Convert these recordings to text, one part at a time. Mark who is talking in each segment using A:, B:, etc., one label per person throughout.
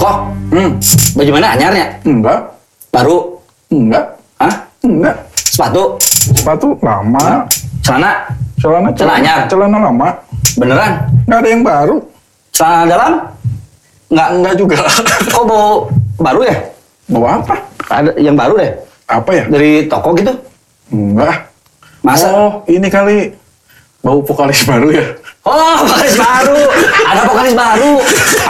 A: Hmm.
B: Bagaimana anyarnya?
A: Enggak.
B: Baru?
A: Enggak.
B: Hah?
A: Enggak.
B: Sepatu?
A: Sepatu lama.
B: Celana?
A: Celana
B: Celananya?
A: Celana lama.
B: Beneran?
A: Enggak ada yang baru.
B: Celana dalam? Nggak,
A: Enggak juga.
B: kok bau baru ya?
A: Bawa apa?
B: Ada yang baru deh?
A: Apa ya?
B: Dari toko gitu?
A: Enggak.
B: Masa?
A: Oh, ini kali bau vokalis baru ya.
B: Oh, vokalis baru. Ada vokalis baru.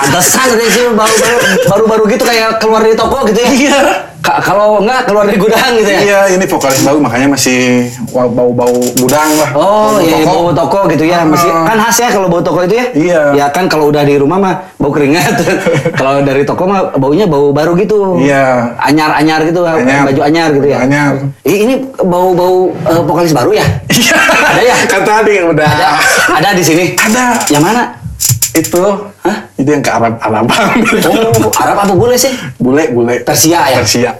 B: Pantesan tadi sih baru baru baru baru gitu kayak keluar dari toko gitu ya. Iya. kalau enggak keluar dari gudang gitu ya.
A: Iya, ini vokalis baru makanya masih wa- bau-bau gudang lah.
B: Oh,
A: Bau
B: iya
A: rokok.
B: bau toko gitu ya. Mesti
A: Ah.
B: kan khas ya kalau bau toko itu ya.
A: Iya.
B: Ya kan kalau udah di rumah mah bau keringat. kalau dari toko mah baunya bau baru gitu.
A: Iya.
B: Anyar-anyar gitu,
A: Anyar.
B: baju anyar gitu ya.
A: Anyar.
B: Ih, Ini bau-bau eh, vokalis baru ya?
A: Iya.
B: Ada ya?
A: Kan tadi udah.
B: Ada, ada di sini.
A: Ada.
B: Yang mana?
A: Itu.
B: Hah?
A: Itu yang ke Arab Araban.
B: Oh, Arab apa boleh sih?
A: Bule, bule.
B: Persia ya?
A: Persia.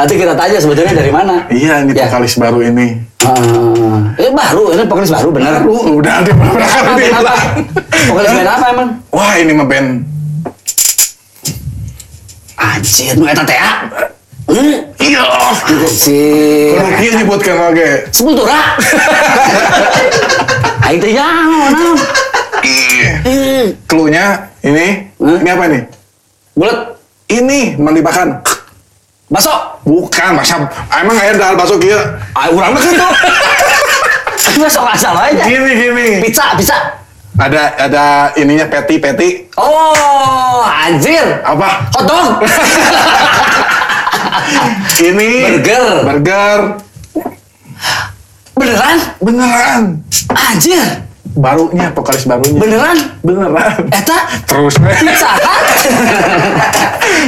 B: Nanti kita tanya sebetulnya dari mana.
A: Iya, ini
B: Ya.
A: vokalis baru ini.
B: Ah, eh baru, ini vokalis baru bener.
A: Baru, udah ada beberapa
B: Apa,
A: kali
B: band apa?
A: bilang.
B: Vokalis band apa emang?
A: Wah, ini mah band.
B: Anjir, nu eta teh ah. Hmm,
A: Iya.
B: gitu si
A: Kalau dia nyebutkan oke.
B: Sepultura. Aing teh jangan, naon. Hmm,
A: Iya. Cluenya ini.
B: Hah?
A: Ini apa nih?
B: Bulat,
A: Ini melibatkan.
B: baso.
A: Bukan, masa emang air dahal masuk iya.
B: Aing urang mah kitu. Baso asal aja.
A: Gini gini.
B: Pizza, pizza.
A: Ada ada ininya peti peti
B: Oh, anjir.
A: apa?
B: Hotdog.
A: Ini
B: Burger.
A: Burger.
B: Beneran?
A: Beneran.
B: Anjir.
A: Barunya vokalis barunya.
B: Beneran?
A: Beneran.
B: Eta
A: Terus.
B: Pizza Hut.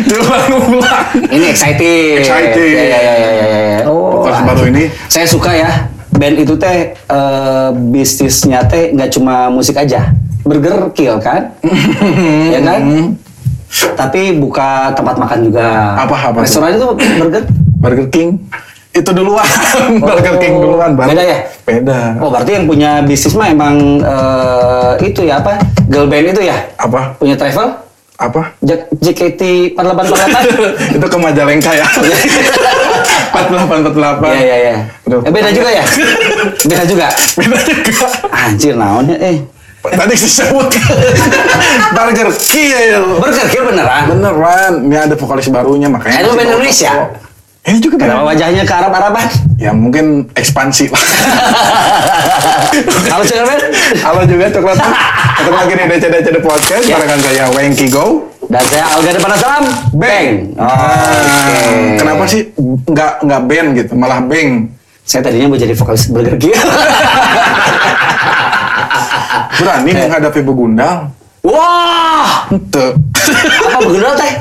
A: Diulang-ulang.
B: Ini exciting.
A: Exciting.
B: Ya, ya, ya, ya, ya, ya. Oh.
A: Vokalis baru ini.
B: Saya suka ya band itu teh eh, bisnisnya teh nggak cuma musik aja. Burger kill kan? ya kan?
A: Hmm.
B: Tapi buka tempat makan juga.
A: Apa- apa tuh?
B: Restoran itu burger.
A: Burger King. Itu duluan. Burger King duluan. baru-
B: Beda ya?
A: Beda.
B: Oh, berarti yang punya bisnis mah emang eh, itu ya apa? Girl band itu ya?
A: Apa?
B: Punya travel?
A: Apa?
B: J- JKT 4848.
A: itu ke Majalengka ya. 48 48.
B: Iya iya iya.
A: Aduh.
B: Eh, beda juga ya? beda juga.
A: Beda juga.
B: Anjir naonnya eh.
A: Tadi disebut Burger Kill.
B: Burger Kill beneran.
A: Beneran, ini ada vokalis barunya makanya.
B: Itu
A: masih
B: band
A: bawa
B: Indonesia?
A: toko. Ini juga band.
B: Kenapa wajahnya ke Arab-Araban?
A: Ya mungkin ekspansi lah.
B: Kalau cermin
A: Halo juga coklat. Ketemu lagi di DC-DC The Podcast
B: Ya.
A: barengan saya Wengki Go.
B: dan saya Alga Depan Salam. Bang. Oh, oke.
A: Ah, Kenapa sih nggak nggak band gitu, malah bang?
B: Saya tadinya mau jadi vokalis Burger Kill.
A: Berani menghadapi begundal.
B: Wah,
A: Ente.
B: apa begedor teh?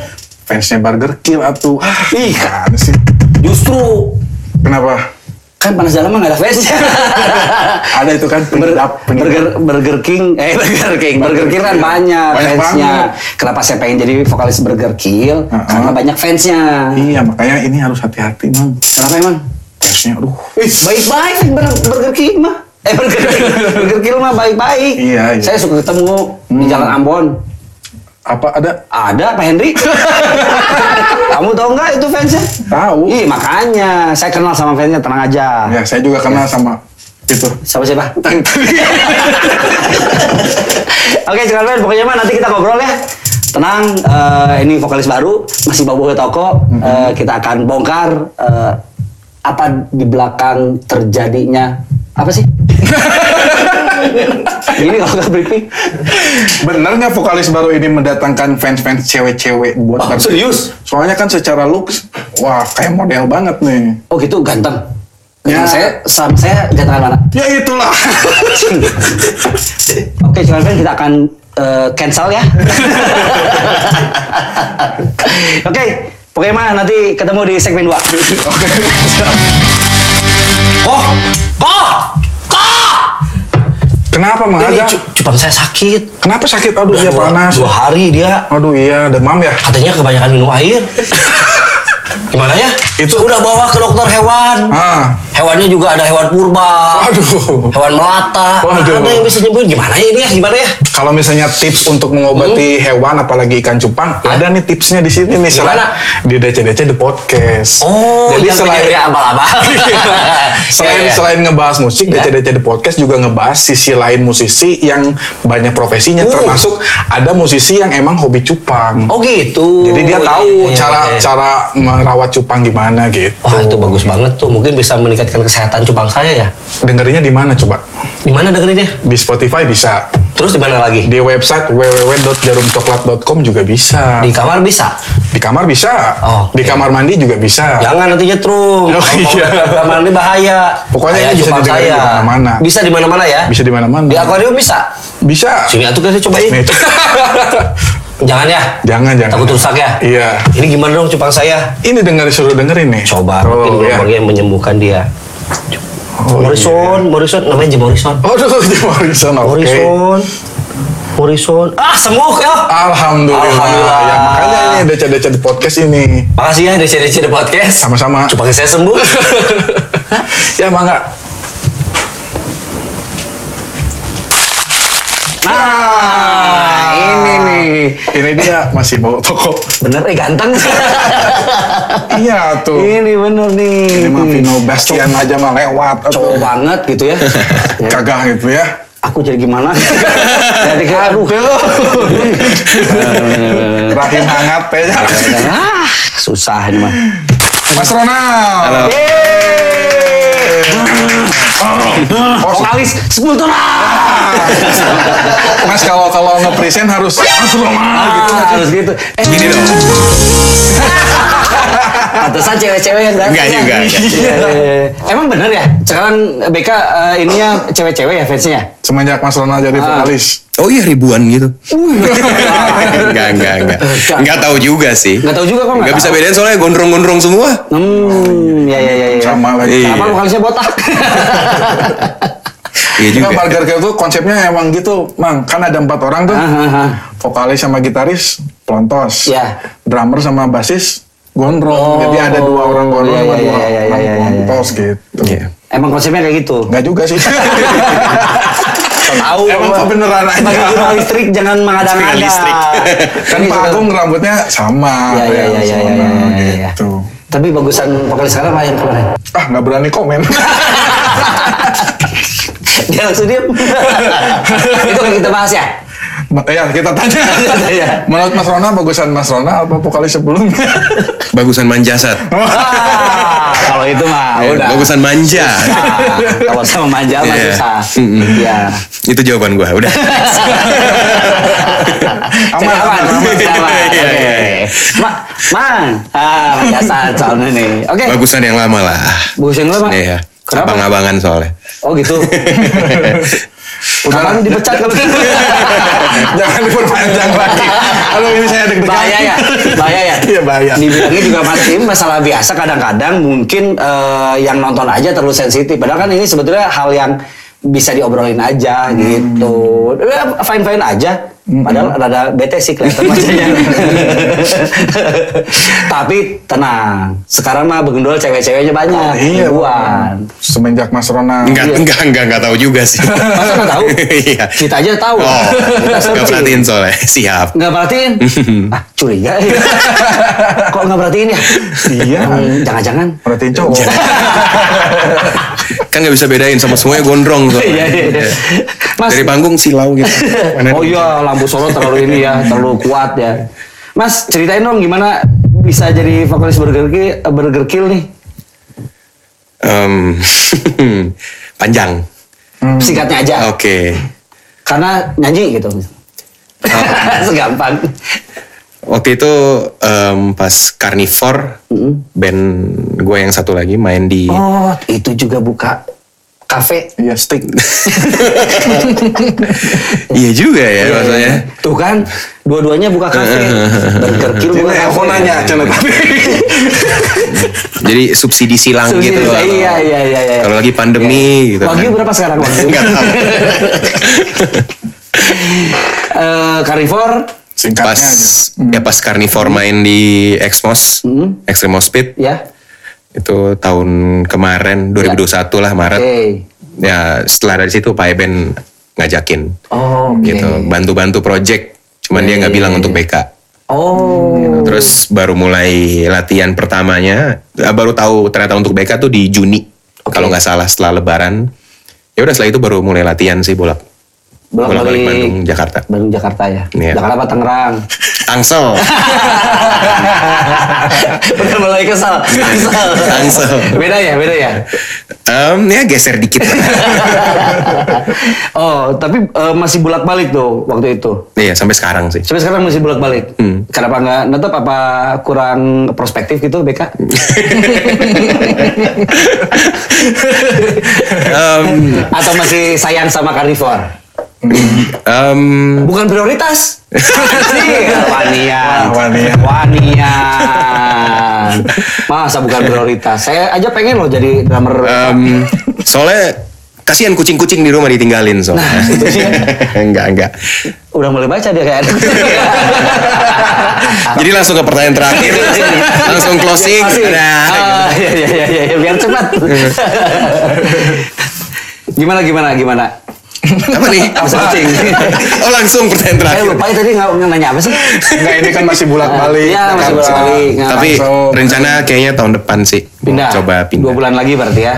A: Fansnya Burger Kill atuh. Ah,
B: Ih.
A: kan sih.
B: Justru
A: Kenapa?
B: kan panas dalam mah nggak ada fansnya.
A: Ada itu kan
B: Ber-
A: pengidap,
B: Burger, Burger King, eh Burger King, Burger King kan banyak,
A: Banyak
B: fansnya.
A: banget.
B: Kenapa saya pengen jadi vokalis Burger King?
A: Uh-uh.
B: Karena banyak fansnya.
A: Iya, makanya ini harus hati-hati, Mang.
B: Kenapa emang?
A: Fansnya, aduh.
B: Baik-baik Bur- Burger King mah. Eh Burger King, Burger King mah baik-baik.
A: Iya, iya. Hmm.
B: Saya suka ketemu di Jalan Ambon.
A: apa ada
B: Ada Pak Henry. Kamu tau nggak itu fansnya?
A: Tahu.
B: Ih makanya saya kenal sama fansnya tenang aja.
A: ya saya juga kenal sama itu
B: Siapa siapa?
A: Tang-
B: Oke, sekalian pokoknya mah nanti kita ngobrol ya. Tenang, eh, ini vokalis baru masih bawa toko. Eh, kita akan bongkar eh, apa di belakang terjadinya apa sih? ini kalau nggak briefing.
A: bener nggak vokalis baru ini mendatangkan fans-fans cewek-cewek buat
B: Oh,
A: Burger King?
B: serius?
A: soalnya kan secara looks wah kayak model banget nih
B: Oh gitu ganteng. Ganteng
A: Ya.
B: saya sama saya gantengan mana?
A: ya itulah
B: Oke, sekalian kita akan eh, cancel ya. Oke, pokoknya mah nanti ketemu di segmen 2.
A: oke
B: Oh, kok, kok.
A: kenapa mang
B: Ini
A: Aga?
B: cu- cupang saya sakit.
A: kenapa sakit aduh
B: Udah
A: dia
B: dua-
A: Iya, panas
B: Dua hari dia
A: aduh iya demam ya
B: katanya kebanyakan minum air. Gimana ya?
A: Itu-
B: Udah bawa ke dokter hewan.
A: ah
B: Hewannya juga ada hewan purba,
A: Waduh.
B: hewan melata.
A: Waduh.
B: Ada yang bisa nyembuhin gimana ya ini ya? Gimana ya?
A: Kalau misalnya tips untuk mengobati hewan, apalagi ikan cupang, ada nih tipsnya di sini
B: Hmm?
A: nih.
B: Ya. Gimana?
A: Selain di DC-DC The Podcast.
B: Oh,
A: jadi
B: yang
A: selain Iya.
B: punya abal-abal.
A: selain
B: Iya, iya.
A: selain ngebahas musik,
B: Iya.
A: DC-DC The Podcast juga ngebahas sisi lain musisi yang banyak profesinya,
B: Uh.
A: termasuk ada musisi yang emang hobi cupang.
B: Oh gitu.
A: Jadi dia
B: Iya,
A: tahu
B: iya, iya,
A: cara
B: iya.
A: cara merawat cupang gimana gitu.
B: Wah itu bagus banget tuh. Mungkin bisa meningkatkan kesehatan cupang saya ya.
A: Dengerinnya di mana coba?
B: Di mana dengerinnya?
A: Di Spotify bisa.
B: Terus di mana lagi?
A: Di website www.jarumcoklat.com juga bisa.
B: Di kamar bisa.
A: Di kamar
B: Ah.
A: bisa.
B: Oh, Ya.
A: Di kamar mandi juga bisa.
B: Jangan nanti nyetrum.
A: Oh,
B: Kalau mau
A: iya.
B: ke kamar mandi bahaya.
A: Pokoknya
B: Bahaya
A: ini bisa
B: cupang
A: didengerin di
B: saya.
A: mana-mana.
B: Bisa di mana-mana ya?
A: Bisa di mana-mana.
B: Di akuarium bisa.
A: Bisa.
B: Sini atuh kita cobain.
A: Nih.
B: ya. Jangan ya.
A: jangan jangan.
B: Takut rusak ya.
A: Iya.
B: Ini gimana dong cupang saya?
A: Ini dengerin suruh dengerin nih.
B: Coba mungkin
A: Oh, ya.
B: keluarga yang menyembuhkan dia.
A: Oh,
B: Morrison, Morrison namanya Jim Morrison.
A: Aduh, di Morrison. iya, Oke.
B: Morrison. Morrison. Ah, semuk ya.
A: Alhamdulillah.
B: Alhamdulillah.
A: Ya, makanya ini DC-DC di podcast ini.
B: Makasih ya dari Ciri Podcast.
A: Sama-sama.
B: Cupang saya sembuh.
A: ya, mangga.
B: nah,
A: Ah,
B: ini nih.
A: Ini dia masih bawa toko.
B: Bener eh ganteng.
A: iya tuh.
B: ini bener nih.
A: Ini mah Vino Bastian aja mah lewat.
B: Cowok
A: Aduh,
B: banget gitu ya. Ya,
A: Kagak gitu ya.
B: Aku jadi gimana? jadi kayak aduh. ya."
A: Rahim hangat ya. kayaknya.
B: Ah, susah ini mah. iya.
A: Mas Ronald. Iya.
C: Halo.
A: Oh,
B: Vokalis 10 dolar.
A: Mas kalau kalau nge-present harus Mas Ronald gitu.
B: Ah, harus gitu. Eh,
C: Gini dong.
B: Pantesan cewek-cewek yang datang.
C: Enggak
B: ya.
C: juga, enggak
B: Iya, iya, iya. Emang bener ya? Sekarang BK eh, ininya cewek-cewek ya fansnya?
A: Semenjak Mas Ronald
B: Ah.
A: jadi vokalis.
C: Oh iya ribuan gitu. enggak, enggak, enggak. Enggak tahu juga sih.
B: Nggak tahu juga kok.
C: Enggak bisa
B: tahu.
C: bedain soalnya gondrong-gondrong semua.
B: Hmm, ya ya ya. ya.
A: Sama lagi.
C: Iya.
B: Sama vokalisnya botak.
C: Iya
A: Enggak,
C: juga.
A: Burger King Nah, tuh konsepnya emang gitu, Mang. Kan ada empat orang tuh.
B: Ah, ah, ah.
A: Vokalis sama gitaris, pelontos.
B: Iya.
A: Drummer sama bassist, gondrong.
B: Oh,
A: Jadi ada dua orang gondrong
B: iya,
A: sama
B: iya, iya,
A: dua
B: iya, iya,
A: orang
B: iya, iya.
A: pelontos gitu.
C: Iya.
B: Emang konsepnya kayak gitu.
A: Enggak juga sih.
B: Tahu. Kan gitu,
A: Emang kebeneran aja.
B: Sebagai tukang listrik jangan mengada-ngada.
C: Tukang listrik.
A: kan Pak
B: Gitu.
A: Agung rambutnya sama.
B: Ya ya
A: kayak
B: ya
A: Mas
B: ya ya, ya,
A: Ronald,
B: ya, ya.
A: Gitu.
B: Tapi bagusan vokalis sekarang apa yang kemarin?
A: Ah, nggak berani komen.
B: Dia langsung diem. Itu kan kita bahas ya.
A: Ma- ya, kita tanya.
B: Iya.
A: Menurut Mas Rona, bagusan Mas Rona apa vokalis sebelumnya?
C: Bagusan manjasat.
B: Ah, kalau itu mah
C: Eh,
B: udah.
C: Bagusan manja.
B: Ah, kalau sama manja mah
C: Iya.
B: susah.
C: Mm-mm.
B: Iya.
C: Itu jawaban gua. Udah.
B: Aman, aman, aman, aman.
C: Iya,
B: Oke.
C: iya,
B: Ma, mang, ah, biasa soalnya nih. Oke,
C: Bagusan yang lama lah.
B: bagus yang lu, Mang.
C: Iya.
B: Kenapa?
C: Abang-abangan soalnya.
B: Oh gitu. Abang dipecat kalau gitu.
A: Jangan diperpanjang lagi. Aduh, ini saya deg-degan.
B: bahaya ya, bahaya ya.
A: Iya, bahaya.
B: Dibilangnya juga Mas Tim masalah biasa kadang-kadang mungkin eh, yang nonton aja terlalu sensitif. Padahal kan ini sebetulnya hal yang bisa diobrolin aja
A: Hmm.
B: gitu. Fine fine aja. Padahal rada bete sih kelihatan wajahnya. Tapi tenang, sekarang mah begendol cewek-ceweknya banyak.
A: Iya,
B: ribuan.
A: Semenjak Mas Rona.
C: Enggak,
B: Iya.
C: enggak, enggak, enggak tahu juga sih.
B: Masa nggak tahu?
C: Iya.
B: Kita aja tahu.
C: Oh,
B: Kita
C: enggak
B: searching.
C: perhatiin soalnya. Siap.
B: Nggak perhatiin? ah, curiga. ya. Kok nggak perhatiin ya?
A: Iya.
B: Hmm, Jangan-jangan.
A: Berarti cowok.
C: Iya. Kan nggak bisa bedain sama semuanya gondrong soalnya.
B: Iya, iya, iya. Mas-
C: Dari panggung silau gitu. Mana
B: Oh
C: ada-
B: iya, lampu Solo terlalu ini ya, terlalu kuat ya. Mas, ceritain dong gimana bisa jadi vokalis Burger Kill, Burger Kill nih?
C: Em, panjang.
A: Hmm.
B: Singkatnya aja.
C: Hmm. Oke.
B: Karena nyanyi gitu. Segampang.
C: Waktu itu em, pas Carnivore, band gue yang satu lagi main di
B: Oh, itu juga buka kafe.
A: Iya, stick.
C: Iya juga ya maksudnya.
B: Tuh kan, dua-duanya buka kafe. Burger Kill buka
A: Ini aku
B: kafe.
A: nanya, Cina tadi.
C: Jadi subsidi silang
B: Subsidi-
C: gitu. loh.
B: Iya, iya, iya, iya.
C: Kalau lagi pandemi gitu.
B: Wagyu berapa sekarang Wagyu?
C: Enggak tahu.
B: Eh, Carnivore,
A: Singkatnya
C: pas
A: aja.
C: ya pas Carnivore main di Exmos, Extreme Speed.
B: ya.
C: Itu tahun kemarin 2021 lah Maret.
B: Hmm.
C: Ya setelah dari situ Pak Eben ngajakin
D: Oh, oke.
B: Iya,
C: gitu, bantu-bantu project. Cuman dia nggak bilang untuk BK.
D: Oh,
C: Terus baru mulai latihan pertamanya, eh, baru tahu ternyata untuk BK tuh di Juni kalau nggak salah setelah Lebaran. Ya udah setelah itu baru mulai latihan sih bolak bolak balik Bandung Jakarta.
B: Bandung Jakarta ya.
C: Iya.
B: Jakarta apa Tangerang?
C: Tangsel,
B: Bener mulai kesal. Kesal.
C: Tangsel.
D: beda ya, beda ya.
C: Em, ya geser dikit.
B: oh, tapi eh, masih bolak-balik tuh waktu itu.
C: Iya sampai sekarang sih.
B: Sampai sekarang masih bolak-balik.
C: Hmm.
B: Kenapa nggak netep apa kurang prospektif gitu BK?
C: Em,
B: Atau masih sayang sama karnivor?
A: Hmm.
C: em,
B: Bukan prioritas. Sih, Iya, Wanian.
A: Wanian.
B: Wanian. Masa bukan prioritas? Saya aja pengen loh jadi drummer.
C: em, soalnya kasihan kucing-kucing di rumah ditinggalin soalnya.
B: Nah,
C: enggak enggak.
B: Udah mulai baca dia kan? kayak.
C: Jadi langsung ke pertanyaan terakhir, langsung closing.
B: Ah,
C: Nah,
B: iya, iya, iya, iya, biar cepat. gimana, gimana, gimana?
C: apa nih?
B: Apa? Closing.
C: oh langsung
B: Saya
C: pertanyaan terakhir.
B: lupa ya tadi nggak nggak nanya apa sih?
A: Enggak ini kan masih bolak balik.
B: Iya, masih bolak-balik. Nggak
C: Tapi
A: langsung.
C: rencana kayaknya tahun depan sih.
B: Pindah.
C: Coba pindah.
B: Dua bulan lagi berarti ya?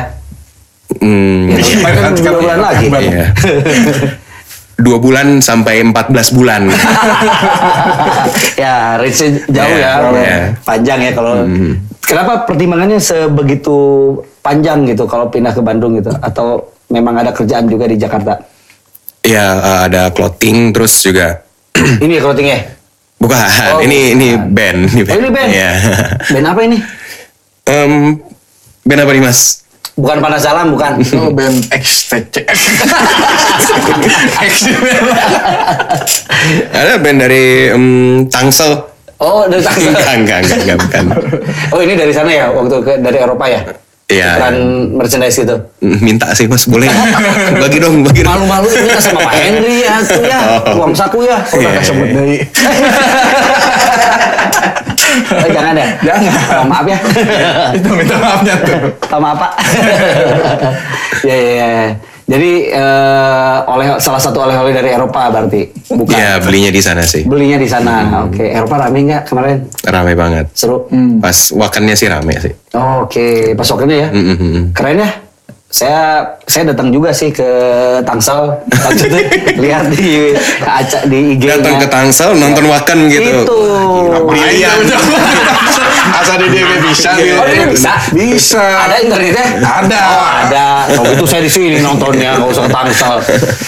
C: Hmm,
B: Ya,
A: Iya,
B: kan
A: kan
B: dua
A: sekarang
B: bulan
A: iya.
B: lagi.
C: iya. Dua bulan sampai 14 bulan.
B: ya, reach jauh
C: Iya,
B: ya,
C: iya.
B: panjang ya kalau.
C: Hmm.
B: Kenapa pertimbangannya sebegitu panjang gitu kalau pindah ke Bandung gitu? Atau memang ada kerjaan juga di Jakarta?
C: ya eh, ada clothing terus juga
B: ini ya clothing ya?
C: bukan.
B: Oh,
C: ini ini band, ini
B: Oh, ini band.
C: Iya.
B: Band apa ini?
C: Em, band apa nih Mas?
B: Bukan panas dalam, bukan.
A: Itu band XTC.
C: Ada band dari em, Tangsel.
B: Oh, dari Tangsel.
C: Enggak, enggak, enggak, enggak, bukan.
B: Oh, ini dari sana ya? Waktu ke, dari Eropa ya?
C: Iya.
B: Ukuran merchandise gitu.
C: Minta sih Mas, boleh. Bagi dong, bagi dong.
B: Malu-malu ini sama Pak Henry ya, tuh ya.
C: Oh.
B: Uang saku ya.
A: Kok udah
C: Iya.
A: kesebut dari
B: Oh, jangan ya?
A: Jangan.
B: Oh, maaf ya.
A: itu minta maafnya tuh.
B: sama apa? ya, ya, ya. Jadi eh, oleh salah satu oleh-oleh dari Eropa berarti, bukan
C: Ya, belinya di sana sih.
B: belinya di sana.
C: Hmm.
B: Oke, Eropa rame nggak kemarin?
C: Rame banget.
B: Seru.
C: Pas wakannya sih rame sih.
B: Oh, Oke, pasokannya ya.
C: Mm, mm, mm.
B: Keren ya. Saya saya datang juga sih ke Tangsel waktu itu lihat di acak di IG. -nya.
C: Datang ke Tangsel nonton Wakan
B: Iya.
C: gitu.
B: Itu.
A: Iya. Asal dia bisa. dia.
B: Oh, dia bisa?
A: Bisa.
B: Ada internetnya?
A: Ada.
B: Oh, ada. Kalau itu saya di sini nontonnya, nggak usah ke Tangsel.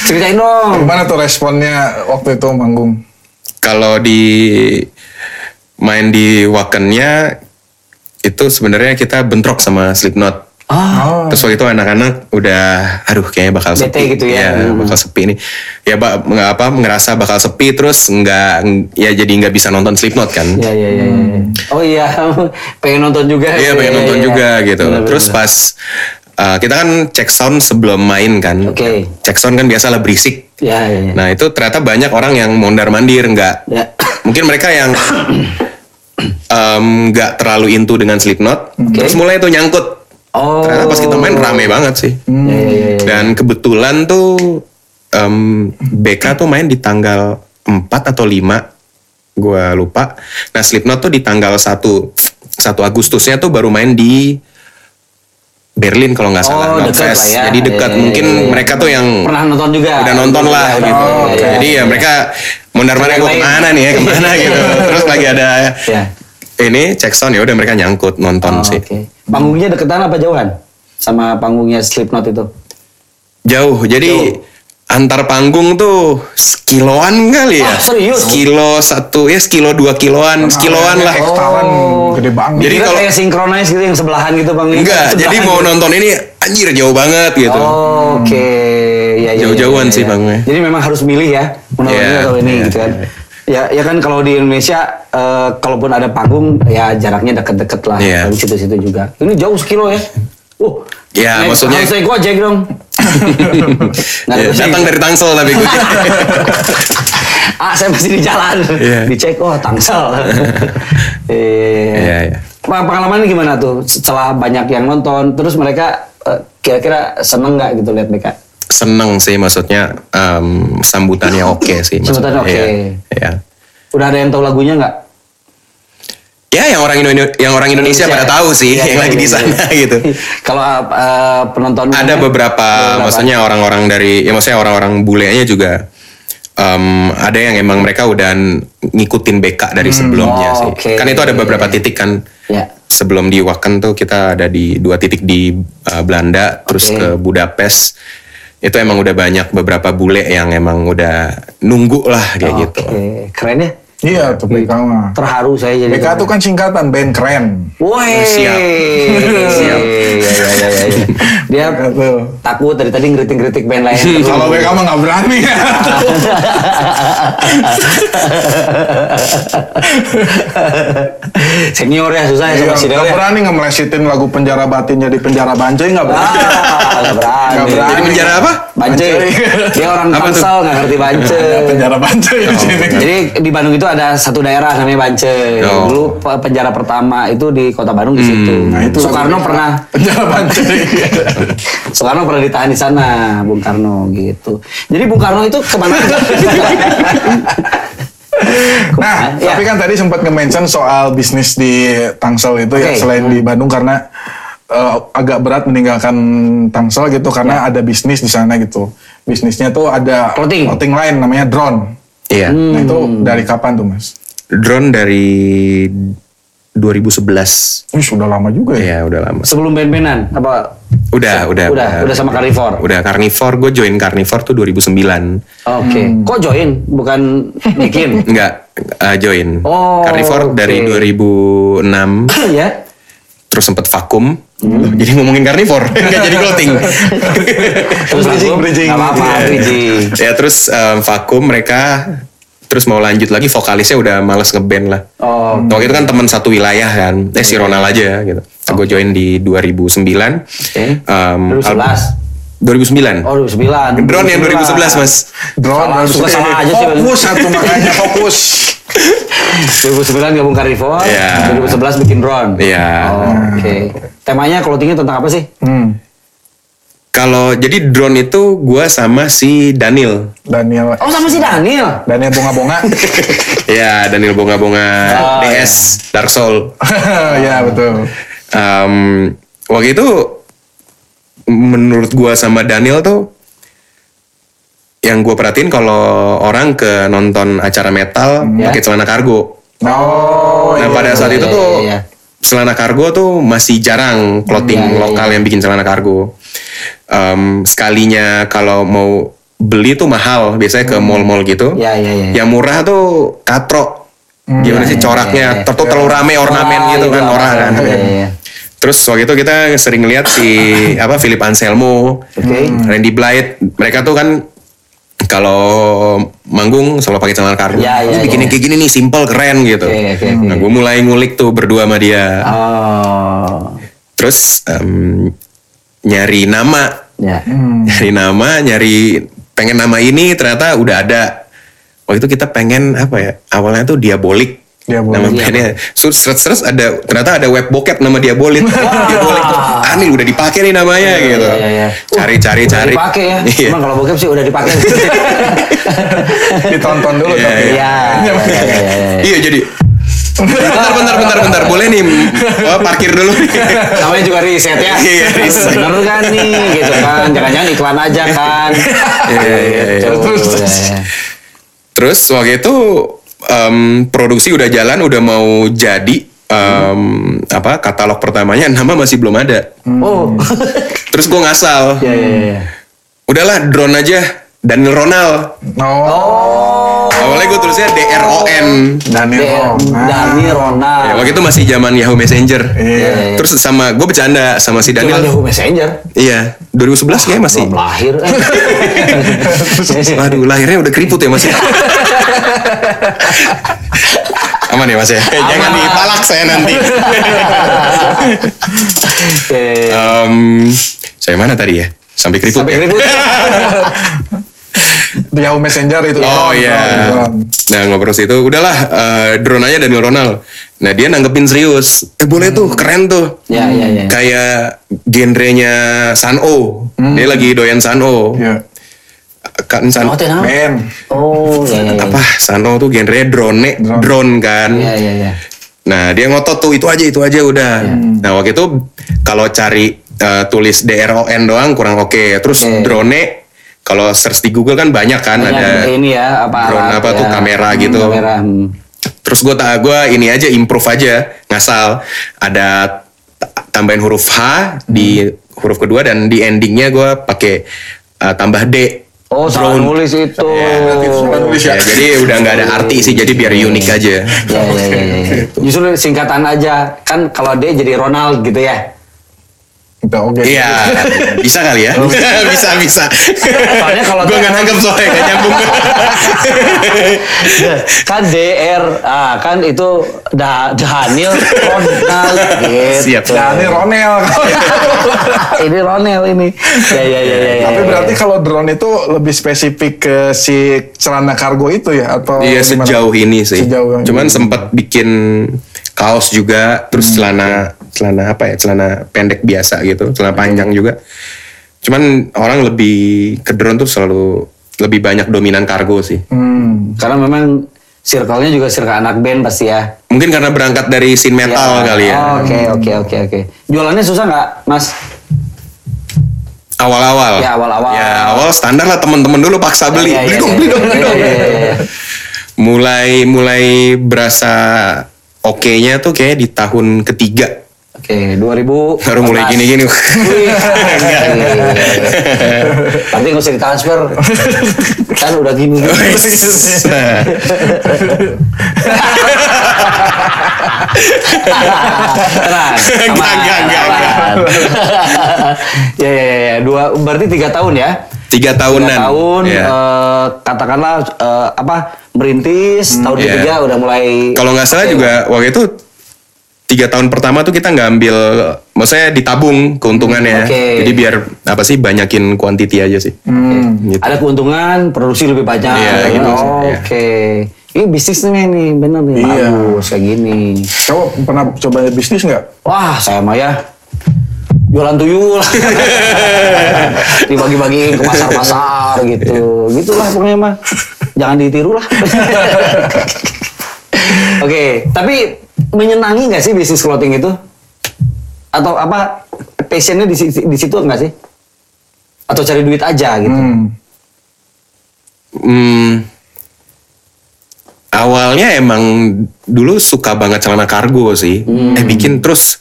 B: Ceritain dong.
A: Gimana tuh responnya waktu itu manggung?
C: Kalau di main di Wakannya itu sebenarnya kita bentrok sama Slipknot.
B: Ah,
A: Oh.
C: Terus waktu itu anak-anak udah, aduh kayaknya bakal
B: Bete
C: sepi.
B: gitu ya.
C: Iya,
B: Hmm.
C: bakal sepi nih. Ya ba- nggak apa ngerasa bakal sepi terus nggak ya jadi nggak bisa nonton Slipknot kan.
B: ya ya ya. ya. Oh iya, pengen nonton juga.
C: Iya pengen
B: Ya,
C: nonton
B: ya, ya.
C: juga gitu.
B: Benar,
C: Terus
B: benar.
C: pas uh, kita kan cek sound sebelum main kan.
B: Oke.
C: Cek sound kan biasalah berisik.
B: Ya ya. ya.
C: Nah itu ternyata banyak orang yang mondar mandir nggak.
B: Ya.
C: Mungkin mereka yang em, nggak terlalu into dengan Slipknot. Terus mulai tuh nyangkut.
B: Oh.
C: Ternyata pas kita main rame banget sih.
B: Ya, ya, ya, ya.
C: Dan kebetulan tuh em, BK tuh main di tanggal 4 atau 5 gua lupa. Nah, Slipknot tuh di tanggal 1 1 Agustusnya tuh baru main di Berlin kalau nggak salah,
B: Oh,
C: Not
B: dekat
C: Fest.
B: lah ya.
C: Jadi dekat
B: Iya, iya,
C: mungkin
B: iya.
C: mereka tuh yang
B: Pernah nonton juga. Iya,
C: udah nonton lah
B: Udah,
C: gitu.
B: udah, udah,
C: Jadi ya
B: iya.
C: mereka mondar mandir
B: Yang
C: gua
B: lain.
C: kemana nih ya, kemana gitu. Terus lagi ada
B: Ya.
C: ini cek sound ya udah mereka nyangkut nonton
B: Oh,
C: sih.
B: oke. Panggungnya deketan apa jauhan? Sama panggungnya Slipknot itu.
C: Jauh. Jadi antar panggung tuh sekiloan kali
B: Wah, Ah,
C: ya.
B: serius? Nah,
C: Sekilo satu ya sekilo dua kiloan, sekiloan lah.
B: oh,
A: Ekstalan gede banget.
C: Jadi
B: Jadi
C: kalau-
B: kayak sinkronize gitu yang sebelahan gitu panggungnya.
C: Enggak, jadi
B: Sebelahan
C: mau
B: gitu.
C: nonton ini anjir jauh banget gitu.
B: Oh, Oke, ya, ya, ya,
C: Jauh-jauhan
B: ya,
C: sih,
B: ya.
C: Bang, ya.
B: Jadi memang harus milih ya, mau nonton
C: Iya,
B: ini atau ini
C: iya,
B: gitu kan.
C: iya,
B: Ya, ya kan kalau di Indonesia, eh, kalaupun ada panggung, ya jaraknya deket-deket lah,
C: Iya.
B: tapi situ-situ juga. Ini jauh sekilo ya. Uh,
C: Ya,
B: naik-
C: maksudnya-
B: harus naik gojek dong. Nggak ada gitu.
C: Ya,
B: gojek.
C: datang dari Tangsel tapi gue.
B: ah, saya masih di jalan.
C: Iya.
B: Dicek, oh Tangsel. Iya.
C: Iya, iya.
B: Peng- pengalamannya gimana tuh setelah banyak yang nonton terus mereka eh, kira-kira seneng nggak gitu lihat mereka
C: seneng sih maksudnya em, sambutannya oke sih maksudnya.
B: Sambutannya oke.
C: Iya, iya.
B: udah ada yang tahu lagunya nggak
C: ya yang orang Indo- yang orang Indonesia, pada tahu sih
B: Iya,
C: yang
B: iya,
C: lagi di
B: iya,
C: sana
B: iya.
C: gitu
B: kalau eh, penonton
C: ada beberapa, maksudnya orang-orang dari ya maksudnya orang-orang bulenya juga em, ada yang emang mereka udah n- ngikutin BK dari sebelumnya
B: oh,
C: sih
B: oke.
C: kan itu ada beberapa titik kan
B: Ya.
C: sebelum di Waken tuh kita ada di dua titik di uh, Belanda terus
B: Oke.
C: ke Budapest itu emang udah banyak beberapa bule yang emang udah nunggu lah kayak gitu
B: Oke, keren ya
A: Iya, tuh BK mah.
B: terharu saya jadi
A: BK tuh kan singkatan band keren.
B: Woi,
C: Siap.
B: Siap. Iya, iya, iya, iya. Dia
A: BK tuh.
B: takut dari tadi ngeritik-ngeritik band lain. terus.
A: Kalau BK mah nggak berani.
B: senior ya susah ya
A: Iya,
B: sama senior
A: nggak
B: ya.
A: berani ngemlesitin lagu penjara batinnya di penjara Banjai nggak berani.
B: Ah, nggak berani.
A: Nggak berani.
C: jadi penjara apa
B: Bance. Dia orang
C: Apa tuh?
B: Tangsel nggak ngerti Bance.
A: Ada penjara Banjai di sini.
B: Jadi di Bandung itu ada satu daerah namanya Bance.
C: Oh.
B: Dulu pe- penjara pertama itu di Kota Bandung di situ. Soekarno pernah
A: penjara Banjai.
B: Soekarno pernah ditahan di sana, Bung Karno gitu. Jadi Bung Karno itu kemana?
A: nah,
B: Ya.
A: tapi kan tadi sempat nge-mention soal bisnis di Tangsel itu ya
B: Oke. Hmm.
A: selain di Bandung karena eh, agak berat meninggalkan Tangsel gitu karena
B: Ya.
A: ada bisnis di sana gitu. Bisnisnya tuh ada
B: Clothing.
A: lain namanya drone.
C: iya
B: Hmm.
A: Nah, itu dari kapan tuh, Mas?
C: drone dari 2011
A: Ih, sudah lama juga
B: Iya.
A: ya.
C: ya udah lama
B: sebelum ben-benan apa?
C: udah udah
B: Udah, udah sama Carnivore?
C: udah carnivore gue join carnivore tuh 2009
B: Oke. Kok join? Bukan bikin?
C: Enggak, eh, join.
B: Oh, oke.
C: Carnivore dari 2006
B: ya?
C: terus sempat vakum.
B: Hmm.
C: Jadi ngomongin carnivore, enggak jadi clothing.
B: Terus
A: Bridging,
B: aku,
A: bridging.
B: nggak apa-apa,
A: Iya.
B: bridging.
C: ya terus eh, vakum mereka terus mau lanjut lagi vokalisnya udah males ngeband lah.
B: Oh,
C: Waktu itu kan teman satu wilayah kan. Eh si Ronald aja gitu. Gue join di 2009.
B: Oke.
C: Em,
B: 2011.
C: album- 2009.
B: oh 2009.
C: Drone ya, yang 2011, Mas.
A: Drone
B: Salah,
A: harus
B: suka salah aja sih.
A: Fokus satu makanya fokus.
B: 2009 gabung Carnivore,
C: Iya.
B: 2011 bikin drone.
C: Iya.
B: Oh, Oke. Temanya clothingnya tentang apa sih?
A: Hmm.
C: Kalau jadi drone itu gue sama si Daniel.
A: Daniel
B: Oh sama si Daniel.
A: Daniel bunga-bunga.
C: ya Daniel Bonga-Bonga
B: Oh,
C: DS Dark Soul.
A: ya betul.
C: Em, waktu itu menurut gua sama Daniel tuh yang gua perhatiin kalau orang ke nonton acara metal pakai celana kargo.
A: Oh,
C: nah pada saat itu
B: iya,
C: tuh
B: iya, iya.
C: celana kargo tuh masih jarang clothing
B: Iya, iya,
C: lokal yang bikin celana kargo. Em, sekalinya kalau mau beli tuh mahal biasanya ke mall-mall gitu.
B: Iya, iya, iya. Hmm,
C: Yang murah tuh katrok. Gimana sih
B: iya,
C: coraknya?
B: iya.
C: Atau terlalu rame ornamen
B: Wah,
C: gitu kan
B: iya,
C: orang kan.
B: iya, iya.
C: Terus waktu itu kita sering lihat si apa Philip Anselmo, Hmm.
B: Oke.
C: Randy Blythe, mereka tuh kan kalau manggung selalu pakai celana kargo.
B: Ya, ya,
C: Ini bikin
B: ya.
C: yang kayak gini nih, simple keren gitu.
B: Oke, oke, Ah.
C: Nah, gue mulai ngulik tuh berdua sama dia.
B: Oh.
C: Terus em, nyari nama,
B: Ya.
A: Hmm,
C: nyari nama, nyari pengen nama ini ternyata udah ada. Waktu itu kita pengen apa ya? Awalnya tuh diabolik.
A: Diabolik.
C: Nama bandnya.
B: Iya,
C: So, terus ada ternyata ada web bokep nama diabolik. diabolik tuh aneh udah dipakai nih namanya gitu.
B: iya, iya.
C: Cari cari
B: Udah
C: cari.
B: dipakai ya.
C: Iya.
B: Emang kalau bokep sih udah dipakai.
A: Ditonton dulu
C: Iya,
A: tapi. ya.
B: Iya. iya, iya, iya, iya.
C: Iya jadi bentar bentar bentar bentar boleh nih oh, parkir dulu nih.
B: Namanya juga riset ya.
C: Iya, riset.
B: Bener kan nih gitu kan. Jangan-jangan iklan aja kan.
C: Iya, iya, iya.
B: Gitu,
A: Terus,
B: ya,
A: terus.
B: ya.
C: Terus waktu itu em, produksi udah jalan, udah mau jadi em, apa katalog pertamanya, nama masih belum ada.
B: Oh.
C: Terus gue ngasal,
B: Iya, iya, iya.
C: udahlah drone aja Daniel Ronald.
A: Oh,
C: Awalnya gue tulisnya D R O N.
A: Daniel.
B: Dan-
A: Nah,
B: Oh, Dani Ronald.
C: Ya, waktu itu masih zaman Yahoo Messenger.
A: Iya.
C: Terus sama gue bercanda sama si
B: Cuman
C: Daniel.
B: Yahoo Messenger.
C: Iya, 2011 kayak masih.
B: Belum lahir. eh.
C: Waduh, lahirnya udah keriput ya masih. Aman ya mas ya? Jangan
B: Aman.
C: dipalak saya nanti.
B: Eh,
C: Em, saya mana tadi ya? Sampai keriput.
B: Sampai
C: ya?
B: keriput.
A: Di Yahoo Messenger itu.
C: Oh iya. Nah ngobrol situ, udahlah eh, drone aja Daniel Ronald. Nah dia nanggepin serius. Eh boleh tuh, keren tuh.
B: Ya, ya, ya.
C: iya. Kayak genrenya San'o. Dia lagi doyan San'o.
A: Iya.
C: Kan San'o
B: Oh, itu nama.
A: Men.
B: Oh, ya, ya, ya.
C: apa? San'o tuh genrenya drone, drone, kan.
B: Ya, ya, ya.
C: Nah dia ngotot tuh itu aja itu aja udah.
B: Iya.
C: Nah waktu itu kalau cari eh, tulis DRON doang kurang oke. Terus
B: Oke.
C: drone kalau search di Google kan banyak kan
B: Banyak
C: ada.
B: ini ya apa
C: drone
B: alat
C: apa tuh, kamera
B: Hmm,
C: gitu.
B: Kamera. hmm.
C: Terus gue tak gue ini aja improve aja ngasal ada t- tambahin huruf H di
B: Hmm.
C: huruf kedua dan di endingnya gue pakai uh, tambah D.
B: Oh, salah
C: Drone. Iya,
B: nulis itu. Iya,
A: berarti itu salah nulis
C: Ya,
A: ya.
C: jadi udah nggak ada arti sih jadi biar unik aja.
B: Ya, ya, ya, ya, ya. Justru singkatan aja kan kalau D jadi Ronald gitu ya.
A: Udah oke.
C: Iya, bisa kali ya? bisa, bisa.
B: Soalnya kalau
C: gue nggak nangkep soalnya nggak nyambung.
B: kan DR ah, kan itu da Daniel Ronald gitu.
C: Siap.
A: Nah, ini Ronel.
B: Iya, ini Ronel ini. Ya ya ya ya. ya,
A: Tapi
B: ya,
A: berarti
B: ya.
A: kalau drone itu lebih spesifik ke si celana kargo itu ya atau
C: Iya
A: gimana?
C: sejauh ini sih.
A: Sejauh ini.
C: Cuman sempat bikin kaos
B: Hmm.
C: juga, terus celana celana apa ya? Celana pendek biasa gitu, celana panjang juga. Cuman orang lebih ke drone tuh selalu lebih banyak dominan kargo sih.
A: Hmm.
B: karena memang circle-nya juga circle anak band pasti ya.
C: Mungkin karena berangkat dari scene metal kali ya.
B: Oke oke oke oke. Jualannya susah nggak, Mas?
C: Awal-awal.
B: Ya, awal-awal.
C: Ya, awal standar lah temen-temen dulu paksa beli.
B: Ya, ya,
C: beli
B: ya,
C: dong,
B: ya,
C: beli
B: ya,
C: dong, beli
B: ya,
C: dong.
B: ya, ya, ya.
C: Mulai mulai berasa oke-nya tuh kayak di tahun ketiga
B: Oke, 2000.
C: baru mulai gini-gini.
B: Nanti nggak usah ditransfer. Kan udah gini.
C: Oh, iya.
B: Tenang.
C: Enggak, enggak, enggak, enggak.
B: aman. Ya ya ya, ya. Dua berarti tiga tahun ya. Tiga
C: tiga tahunan.
B: tahun
C: Ya.
B: eh, katakanlah eh, apa merintis tahun
C: Iya.
B: ketiga udah mulai
C: Kalau nggak salah
B: Oke.
C: juga waktu itu tiga tahun pertama tuh kita nggak ambil, maksudnya ditabung
B: Hmm,
C: keuntungannya.
B: oke.
C: Jadi biar apa sih banyakin kuantiti aja sih.
A: Hmm.
C: Gitu.
B: ada keuntungan produksi lebih banyak.
C: Iya,
B: Oh,
C: gitu sih,
B: Oke.
C: iya.
B: Ini bisnisnya nih bener nih
A: Iya.
B: bagus kayak gini.
A: Coba pernah coba bisnis nggak?
B: Wah saya mah ya jualan tuyul dibagi-bagiin ke pasar-pasar gitu
C: Iya.
B: gitulah pokoknya mah jangan ditiru lah oke tapi menyenangi nggak sih bisnis clothing itu atau apa passionnya di, sisi- di situ nggak sih atau cari duit aja gitu
A: Hmm.
C: Hmm, awalnya emang dulu suka banget celana kargo sih.
B: Hmm.
C: Eh bikin terus